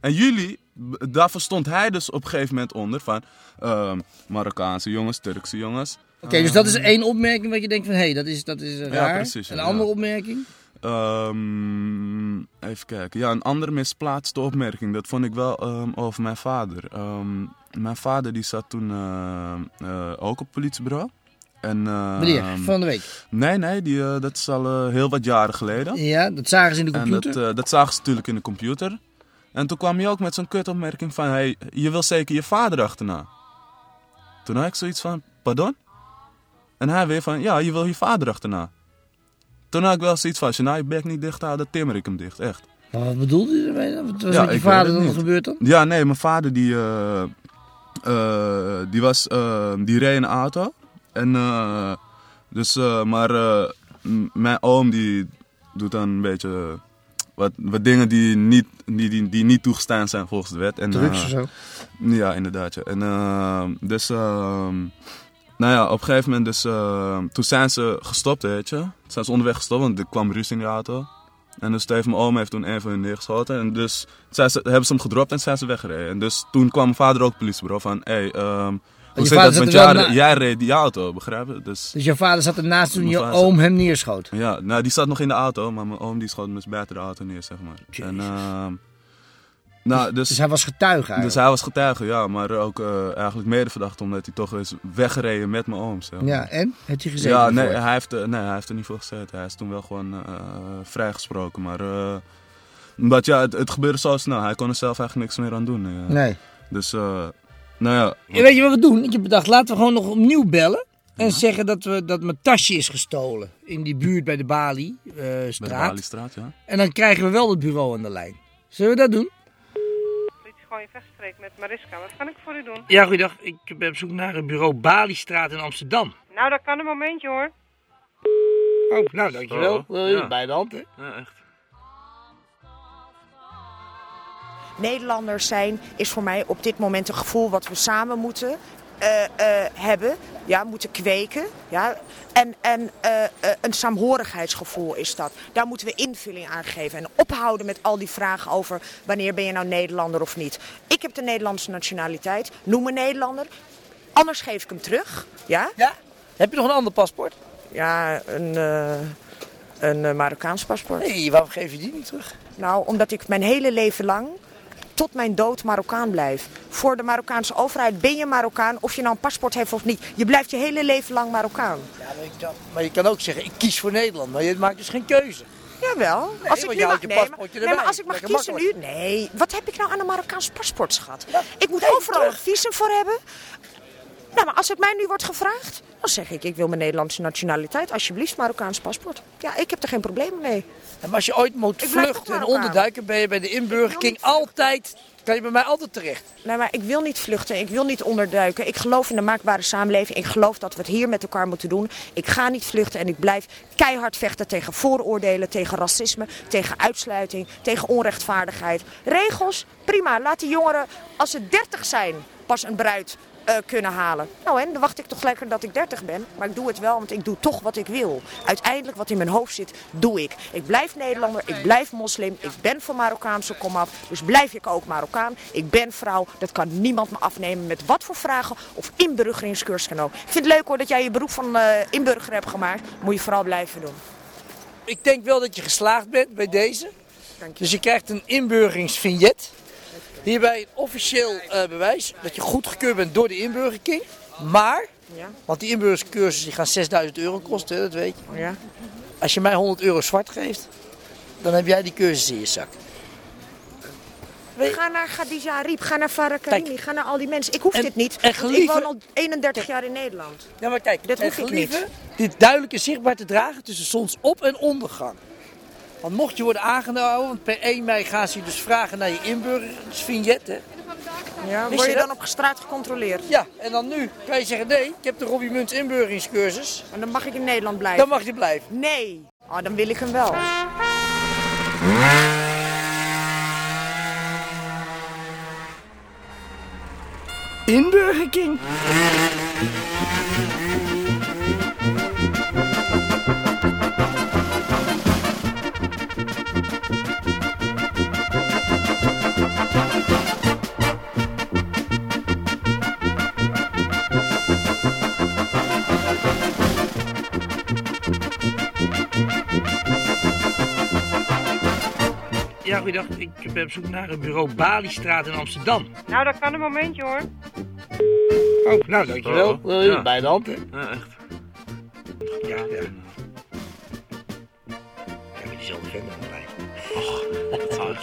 Speaker 6: En jullie, b- daar verstond hij dus op een gegeven moment onder van, ehm, Marokkaanse jongens, Turkse jongens. Ehm,
Speaker 5: Oké, dus dat is één opmerking wat je denkt van, hé, dat is, dat is eh,
Speaker 6: Ja,
Speaker 5: raar.
Speaker 6: precies, ja,
Speaker 5: Een
Speaker 6: ja.
Speaker 5: andere opmerking?
Speaker 6: Ehm, even kijken. Ja, een andere misplaatste opmerking. Dat vond ik wel ehm, over mijn vader. Ehm, mijn vader die zat toen ehm, eh, ook op het politiebureau. En, ehm,
Speaker 5: Wanneer? Van de week?
Speaker 6: Nee, nee. Die, eh, dat is al eh, heel wat jaren geleden.
Speaker 5: Ja, dat zagen ze in de
Speaker 6: En
Speaker 5: computer?
Speaker 6: dat, eh, dat zagen ze natuurlijk in de computer. En toen kwam hij ook met zo'n kutopmerking van... Hey, je wil zeker je vader achterna. Toen had ik zoiets van... Pardon? En hij weer van... Ja, je wil je vader achterna. Toen had ik wel zoiets van... Als je nou je bek niet dicht houdt, dan timmer ik hem dicht. Echt.
Speaker 5: Maar wat bedoelde je ermee? dan? Wat was
Speaker 6: eh, Ja,
Speaker 5: met je
Speaker 6: ik weet
Speaker 5: vader
Speaker 6: het
Speaker 5: dan
Speaker 6: niet.
Speaker 5: gebeurd dan?
Speaker 6: Ja, nee, mijn vader die, eh, eh, die was, eh, die reed een auto. En, eh, dus, eh, maar eh, m- mijn oom die doet dan een beetje Wat, wat dingen die niet, die, die, die niet toegestaan zijn volgens de wet. En,
Speaker 1: Drugs
Speaker 6: eh,
Speaker 1: of zo?
Speaker 6: Ja, inderdaad. Ja. En, eh, dus, ehm, nou ja, op een gegeven moment dus, eh, toen zijn ze gestopt, weet je. Toen zijn ze onderweg gestopt, want er kwam ruzie in de auto. En dus toen heeft mijn oom heeft toen een van hun neergeschoten. En dus zijn ze, hebben ze hem gedropt en zijn ze weggereden. En dus toen kwam mijn vader ook het politiebureau van... Hey, ehm hoe
Speaker 5: je
Speaker 6: zit
Speaker 5: vader
Speaker 6: dat
Speaker 5: zat
Speaker 6: met
Speaker 5: er wel
Speaker 6: jou?
Speaker 5: na-
Speaker 6: Jij reed die auto, begrijp je? Dus,
Speaker 5: Dus jouw vader zat ernaast toen
Speaker 6: Mijn
Speaker 5: je
Speaker 6: vader zat-
Speaker 5: oom hem neerschoot.
Speaker 6: ja, nou die zat nog in de auto, maar mijn oom die schoot hem dus buiten de auto neer, zeg maar. En, ehm, nou, dus,
Speaker 5: hij was getuige eigenlijk?
Speaker 6: Dus hij was getuige, ja, maar ook eh, eigenlijk medeverdachte omdat hij toch is weggereden met mijn oom. Zeg maar.
Speaker 5: Ja, en? Heeft hij gezeten
Speaker 6: Ja, nee
Speaker 5: ervoor?
Speaker 6: hij, heeft, eh, nee, hij heeft er niet voor gezeten. Hij is toen wel gewoon eh, vrijgesproken, maar... eh, omdat ja, het, het gebeurde zo snel. Hij kon er zelf eigenlijk niks meer aan doen. ja.
Speaker 5: Nee.
Speaker 6: Dus, eh, nou ja...
Speaker 5: Ja, Weet je wat we doen? Ik heb bedacht, laten we gewoon nog opnieuw bellen. En zeggen dat, we, dat mijn tasje is gestolen. In die buurt bij de Bali-straat.
Speaker 6: Bij de Baliestraat, ja.
Speaker 5: En dan krijgen we wel het bureau aan de lijn. Zullen we dat doen?
Speaker 24: Gooi wegstreek met Mariska. Wat kan ik voor u doen?
Speaker 5: Ja, goeiedag. Ik ben op zoek naar het bureau Bali-straat in Amsterdam.
Speaker 24: Nou, dat kan een momentje hoor.
Speaker 5: Oh, nou, dankjewel.
Speaker 24: Oh,
Speaker 5: Eh,
Speaker 24: ja.
Speaker 5: Bij de hand, hè?
Speaker 6: Ja, echt.
Speaker 18: Nederlanders zijn is voor mij op dit moment een gevoel wat we samen moeten eh, eh, hebben, ja, moeten kweken. Ja. En, en eh, eh, een saamhorigheidsgevoel is dat. Daar moeten we invulling aan geven. En ophouden met al die vragen over wanneer ben je nou Nederlander of niet. Ik heb de Nederlandse nationaliteit, noem me Nederlander. Anders geef ik hem terug. Ja?
Speaker 5: ja? Heb je nog een ander paspoort?
Speaker 18: Ja, een, eh, een eh, Marokkaans paspoort.
Speaker 5: Nee, waarom geef je die niet terug?
Speaker 18: Nou, omdat ik mijn hele leven lang tot mijn dood Marokkaan blijf. Voor de Marokkaanse overheid ben je Marokkaan, of je nou een paspoort hebt of niet. Je blijft je hele leven lang Marokkaan.
Speaker 5: Ja, maar, ik kan, maar je kan ook zeggen, ik kies voor Nederland. Maar je maakt dus geen keuze.
Speaker 18: Jawel.
Speaker 5: Nee,
Speaker 18: als
Speaker 5: want
Speaker 18: ik
Speaker 5: je
Speaker 18: nu mag,
Speaker 5: houdt je
Speaker 18: nee, maar,
Speaker 5: paspoortje
Speaker 18: nee,
Speaker 5: erbij.
Speaker 18: maar als ik mag
Speaker 5: Lekker
Speaker 18: kiezen nu...
Speaker 5: makkelijk.
Speaker 18: Nee, wat heb ik nou aan een Marokkaans paspoort, schat? Ik moet overal een visum voor hebben. Nou, maar als het mij nu wordt gevraagd, dan zeg ik... ik wil mijn Nederlandse nationaliteit, alsjeblieft Marokkaans paspoort. Ja, ik heb er geen probleem mee.
Speaker 5: En als je ooit moet
Speaker 18: Ik blijf toch
Speaker 5: vluchten en
Speaker 18: Marokkaan.
Speaker 5: onderduiken, ben je bij de inburgering altijd... Kan je bij mij altijd terecht.
Speaker 18: Nee, maar ik wil niet vluchten. Ik wil niet onderduiken. Ik geloof in de maakbare samenleving. Ik geloof dat we het hier met elkaar moeten doen. Ik ga niet vluchten en ik blijf keihard vechten tegen vooroordelen, tegen racisme, tegen uitsluiting, tegen onrechtvaardigheid. Regels, prima. Laat die jongeren, als ze 30 zijn, pas een bruid eh, kunnen halen. Nou, en dan wacht ik toch lekker dat ik 30 ben. Maar ik doe het wel, want ik doe toch wat ik wil. Uiteindelijk wat in mijn hoofd zit, doe ik. Ik blijf Nederlander, ik blijf moslim, ik ben van Marokkaanse komaf. Dus blijf ik ook Marokkaan. Ik ben vrouw, dat kan niemand me afnemen met wat voor vragen of inburgeringscursus dan ook. Ik vind het leuk hoor dat jij je beroep van eh inburger hebt gemaakt. Moet je vooral blijven doen.
Speaker 5: Ik denk wel dat je geslaagd bent bij deze. Dus je krijgt een inburgeringsvignet. Hierbij een officieel eh, bewijs dat je goedgekeurd bent door de inburgerking. Maar,
Speaker 18: Ja.
Speaker 5: want die inburgeringscursus die gaan 6000 euro kosten, hè, dat weet je.
Speaker 18: Ja.
Speaker 5: Als je mij 100 euro zwart geeft, dan heb jij die cursus in je zak. Eh.
Speaker 18: Ga naar Khadija Riep, ga naar Farah Karimi, ga naar al die mensen. Ik hoef dit niet,
Speaker 5: en
Speaker 18: want ik
Speaker 5: gelieve-
Speaker 18: woon al 31 jaar in Nederland.
Speaker 5: Ja, maar kijk,
Speaker 18: dat
Speaker 5: en
Speaker 18: hoef ik niet.
Speaker 5: gelieve Dit duidelijk en zichtbaar te dragen tussen zonsop en ondergang. Want mocht je worden aangenomen, want per 1 mei gaan ze je dus vragen naar je inburgeringsvignet. hè.
Speaker 18: Ja,
Speaker 5: Wist
Speaker 18: word je
Speaker 5: je
Speaker 18: dan
Speaker 5: dat?
Speaker 18: op straat gecontroleerd?
Speaker 5: Ja, en dan nu kan je zeggen, nee, ik heb de Robbie Munt inburgeringscursus.
Speaker 18: En dan mag ik in Nederland blijven?
Speaker 5: Dan mag je blijven.
Speaker 18: Nee. Oh, dan wil ik hem wel.
Speaker 5: Inburgerking. Ja, goeiedag. Ik ben op zoek naar het bureau Bali-straat in Amsterdam.
Speaker 24: Nou, dat kan een momentje hoor.
Speaker 5: Oh, nou, dankjewel.
Speaker 6: Oh,
Speaker 5: Eh,
Speaker 6: ja.
Speaker 5: Bij de hand, hè?
Speaker 6: Ja, echt.
Speaker 5: Ja, ja. Ja, maar die zal de vender nog bij.
Speaker 6: Oh,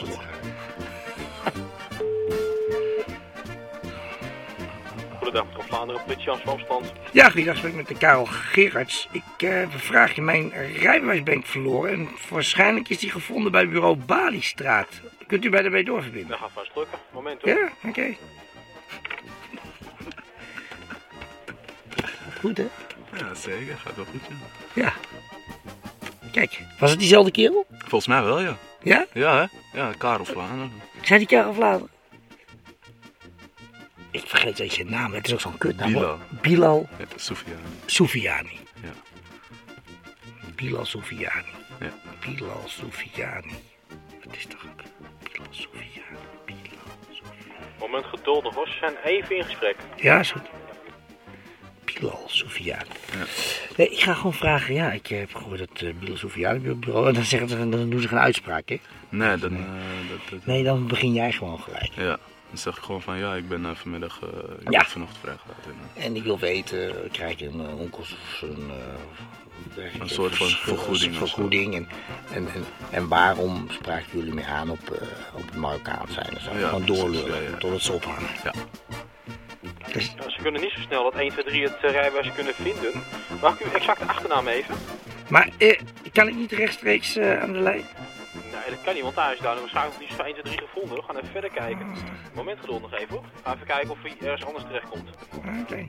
Speaker 25: Goedendag, mevrouw Vlaanderen, politie Amsterdam-Stand.
Speaker 5: Ja, goeiedag, spreek met de Karel Gerards. Ik eh bevraag je, mijn rijbewijs ben ik verloren en waarschijnlijk is die gevonden bij bureau Bali-straat. Kunt u bij daarbij doorverbinden?
Speaker 25: Dat gaat vast lukken. Moment hoor.
Speaker 5: Ja, oké. Goed, hè?
Speaker 6: Ja, zeker. Gaat wel goed, ja.
Speaker 5: Ja. Kijk, was het diezelfde kerel?
Speaker 6: Volgens mij wel, ja.
Speaker 5: Ja?
Speaker 25: Ja, hè? Ja, Karel Vlaanderen.
Speaker 5: Zijn die kerel Vlaanderen? Ik vergeet eens zijn naam, het is ook zo'n kutnaam. hoor.
Speaker 25: Bilal.
Speaker 5: Bilal
Speaker 25: Ja, Sofia.
Speaker 5: Soufiani.
Speaker 25: Ja.
Speaker 5: Bilal Soufiani.
Speaker 25: Ja.
Speaker 5: Bilal Soufiani. Wat is toch ook? Bilal Soufiani.
Speaker 25: Moment geduldig hoor, ze zijn even in gesprek.
Speaker 5: Ja, is goed. Bilal Soufiani. Nee, ik ga gewoon vragen. Ja, ik heb gehoord dat eh Bilal Soufiani bij het bureau. En dan, zeggen ze, dan doen ze geen uitspraak, hè?
Speaker 25: Nee, dan... eh, dat, dat-
Speaker 5: Nee, dan begin jij gewoon gelijk.
Speaker 25: Ja, dan zeg ik gewoon van ja, ik ben eh, vanmiddag... eh, ik
Speaker 5: Ja.
Speaker 25: heb vanochtend vrijgelaten.
Speaker 5: En ik wil weten, krijg je een eh, onkost of een... eh,
Speaker 25: Een soort van
Speaker 5: vers-
Speaker 25: vergoeding of zo.
Speaker 5: vergoeding en, en, en, en waarom spraken jullie mee aan op, eh, op het Marokkaans zijn? en zo?
Speaker 25: Ja,
Speaker 5: Gewoon
Speaker 25: precies,
Speaker 5: doorlullen totdat ze ophangen.
Speaker 25: Ja. Nou, ze kunnen niet zo snel dat 1, 2, 3 het eh, rijbewijs kunnen vinden. Mag ik uw exacte achternaam even?
Speaker 5: Maar eh, kan ik niet rechtstreeks eh, aan de lijn?
Speaker 25: Nee, dat kan niet, want daar is daar waarschijnlijk niet zo 1, 2, 3 gevonden. We gaan even verder kijken. Moment geduld nog even hoor. Gaan even kijken of hij ergens anders terechtkomt.
Speaker 5: Ah, Oké.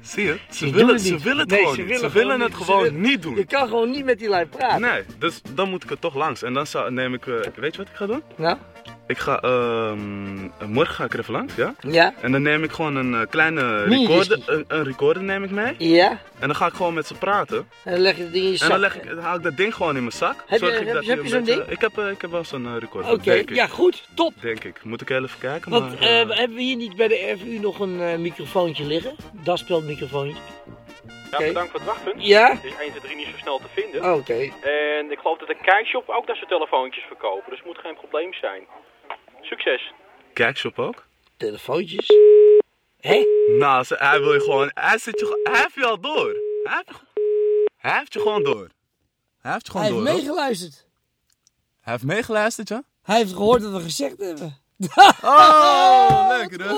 Speaker 25: Zie je? Ze
Speaker 5: Die
Speaker 25: willen-
Speaker 5: doen
Speaker 25: ze
Speaker 5: niet.
Speaker 25: willen het
Speaker 5: Nee,
Speaker 25: gewoon
Speaker 5: ze
Speaker 25: niet.
Speaker 5: willen
Speaker 25: Ze willen het gewoon
Speaker 5: Ze willen-
Speaker 25: niet doen.
Speaker 5: Je kan gewoon niet met die lijn praten.
Speaker 25: Nee, dus dan moet ik er toch langs. En dan zou, neem ik... eh, weet je wat ik ga doen?
Speaker 5: Nou?
Speaker 25: Ik ga... ehm, morgen ga ik er even langs, ja?
Speaker 5: Ja?
Speaker 25: En dan neem ik gewoon een eh, kleine
Speaker 5: Mini-whisky.
Speaker 25: recorder, een, een recorder neem ik mee.
Speaker 5: Ja?
Speaker 25: En dan ga ik gewoon met ze praten.
Speaker 5: En dan leg je het ding in je
Speaker 25: En dan, leg
Speaker 5: zak.
Speaker 25: ik, dan haal ik dat ding gewoon in mijn zak.
Speaker 5: Heb
Speaker 25: Zorg
Speaker 5: je-
Speaker 25: ik
Speaker 5: heb-
Speaker 25: dat
Speaker 5: heb
Speaker 25: hij een
Speaker 5: je zo'n
Speaker 25: beetje-
Speaker 5: ding?
Speaker 25: Ik heb, eh, ik heb wel zo'n eh, recorder.
Speaker 5: Oké,
Speaker 25: denk ik.
Speaker 5: ja goed, top.
Speaker 25: Denk ik. Moet ik heel even kijken,
Speaker 5: Want
Speaker 25: maar...
Speaker 5: eh, hebben we hier niet bij de RVU nog een eh, microfoontje liggen? Dat speelt microfoontje.
Speaker 25: Ja, bedankt voor het wachten.
Speaker 5: Ja? Oh,
Speaker 25: Het is 1, 2, 3 niet zo snel te vinden.
Speaker 5: Oké.
Speaker 25: En ik geloof dat de kijkshop ook daar zijn telefoontjes verkopen, dus het moet geen probleem zijn. Succes. Kijkshop ook?
Speaker 5: Telefoontjes. Hé?
Speaker 25: Nou, ze- hij wil je gewoon... Hij, zit je, gewoon- hij heeft je al door. Hij heeft je, gewoon- hij heeft je gewoon door.
Speaker 21: Hij heeft gewoon
Speaker 5: Hij heeft
Speaker 21: door. hoor.
Speaker 5: meegeluisterd.
Speaker 21: Hij heeft meegeluisterd, ja?
Speaker 5: Hij heeft gehoord wat we gezegd hebben. (laughs)
Speaker 21: Oh, lekker hè?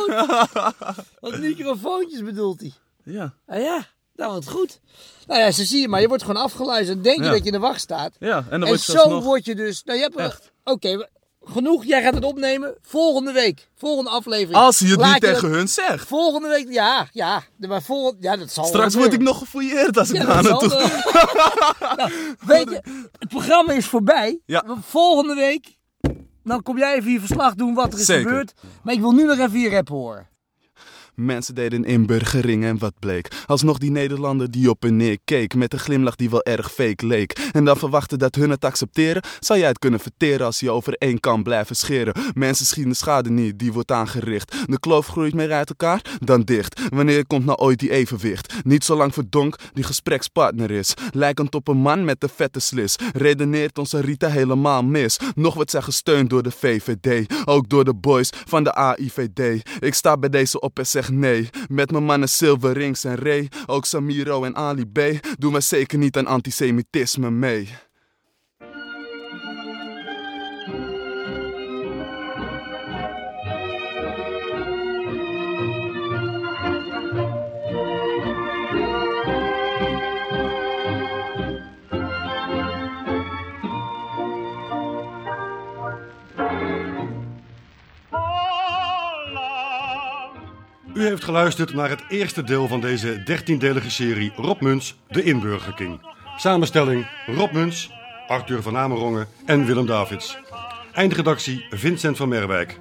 Speaker 21: (laughs)
Speaker 5: Wat microfoontjes bedoelt hij.
Speaker 21: Ja.
Speaker 5: Ah ja, nou wat goed. Nou ja, zo zie je maar. Je wordt gewoon afgeluisterd. Denk je
Speaker 21: Ja.
Speaker 5: dat je in de wacht staat.
Speaker 21: Ja, en dan
Speaker 5: en
Speaker 21: word je
Speaker 5: zo
Speaker 21: alsnog-
Speaker 5: word je dus... Nou, je hebt... Oké, we- genoeg. Jij gaat het opnemen volgende week. Volgende aflevering.
Speaker 21: Als je het
Speaker 5: Laat
Speaker 21: niet tegen
Speaker 5: dat-
Speaker 21: hun zegt.
Speaker 5: Volgende week, ja, ja. de- Maar vol, ja, dat zal
Speaker 21: Straks
Speaker 5: wel
Speaker 21: word ik
Speaker 5: gebeuren.
Speaker 21: nog gefouilleerd als ik
Speaker 5: Ja,
Speaker 21: daar
Speaker 5: dat zal
Speaker 21: naartoe
Speaker 5: wel.
Speaker 1: (laughs)
Speaker 5: Nou, weet je, het programma is voorbij. Want Volgende week, dan kom jij even hier verslag doen wat er is
Speaker 6: Zeker.
Speaker 5: gebeurd. Maar ik wil nu nog even je rap horen.
Speaker 6: Mensen deden een inburgering en wat bleek. Alsnog die Nederlander die op en neer keek. Met een glimlach die wel erg fake leek. En dan verwachten dat hun het accepteren. Zou jij het kunnen verteren als je over één kan blijven scheren? Mensen schieten de schade niet, die wordt aangericht. De kloof groeit meer uit elkaar dan dicht. Wanneer komt nou ooit die evenwicht? Niet zolang verdonk die gesprekspartner is. Lijkend op een man met de vette slis. Redeneert onze Rita helemaal mis. Nog wordt zij gesteund door de VVD. Ook door de boys van de AIVD. Ik sta bij deze op en zeg nee. Met mijn mannen Silver Rings en Ray. Ook Samiro en Ali B. Doen we zeker niet aan antisemitisme mee.
Speaker 1: U heeft geluisterd naar het eerste deel van deze 13-delige serie Rob Muns, de Inburger King. Samenstelling Rob Muns, Arthur van Amerongen en Willem Davids. Eindredactie Vincent van Merwijk.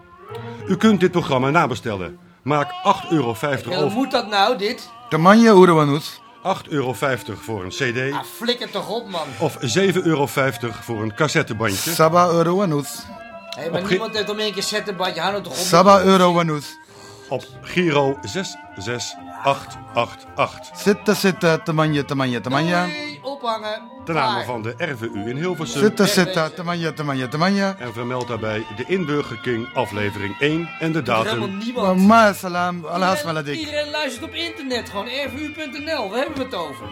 Speaker 1: U kunt dit programma nabestellen. Maak 8,50 euro
Speaker 5: hoe
Speaker 1: over.
Speaker 5: moet dat nou, dit?
Speaker 1: De manje Oerewanut. 8,50 euro voor een
Speaker 5: Ah.
Speaker 1: cd.
Speaker 5: Flikker toch op, man.
Speaker 1: Of 7,50 euro voor een cassettebandje.
Speaker 3: Saba Eurowanoet.
Speaker 5: Hé, maar
Speaker 1: Op
Speaker 5: niemand heeft om één keer zetten, badje. Hou nou toch op.
Speaker 3: Saba Eurowanoet.
Speaker 1: Op Giro 66888.
Speaker 3: Zitten, zitten, temanje, temanje, temanje.
Speaker 5: Doei, ophangen.
Speaker 1: Ten name van de RVU in Hilversum.
Speaker 3: Zitten, zitten, temanje, temanje, temanje.
Speaker 1: En vermeld daarbij de Inburger King aflevering 1 en de
Speaker 5: helemaal
Speaker 1: datum.
Speaker 5: niemand.
Speaker 3: Mama salam, alhaas
Speaker 5: Iedereen,
Speaker 3: maladik.
Speaker 5: iedereen luistert op internet, gewoon rvu.nl. We hebben het over.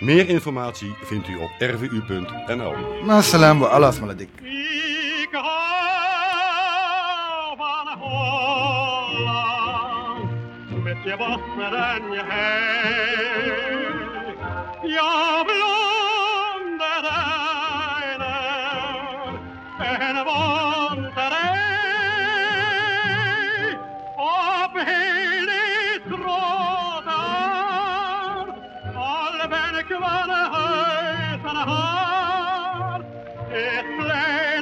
Speaker 1: Meer informatie vindt u op rvu.nl.
Speaker 3: Ma salam, wa alhaas maladik.
Speaker 24: met je wassen en je haar. Ja, blonde Reiner en wanderij op heel Israël. Al ben ik wel een huis en haar, Ik blijf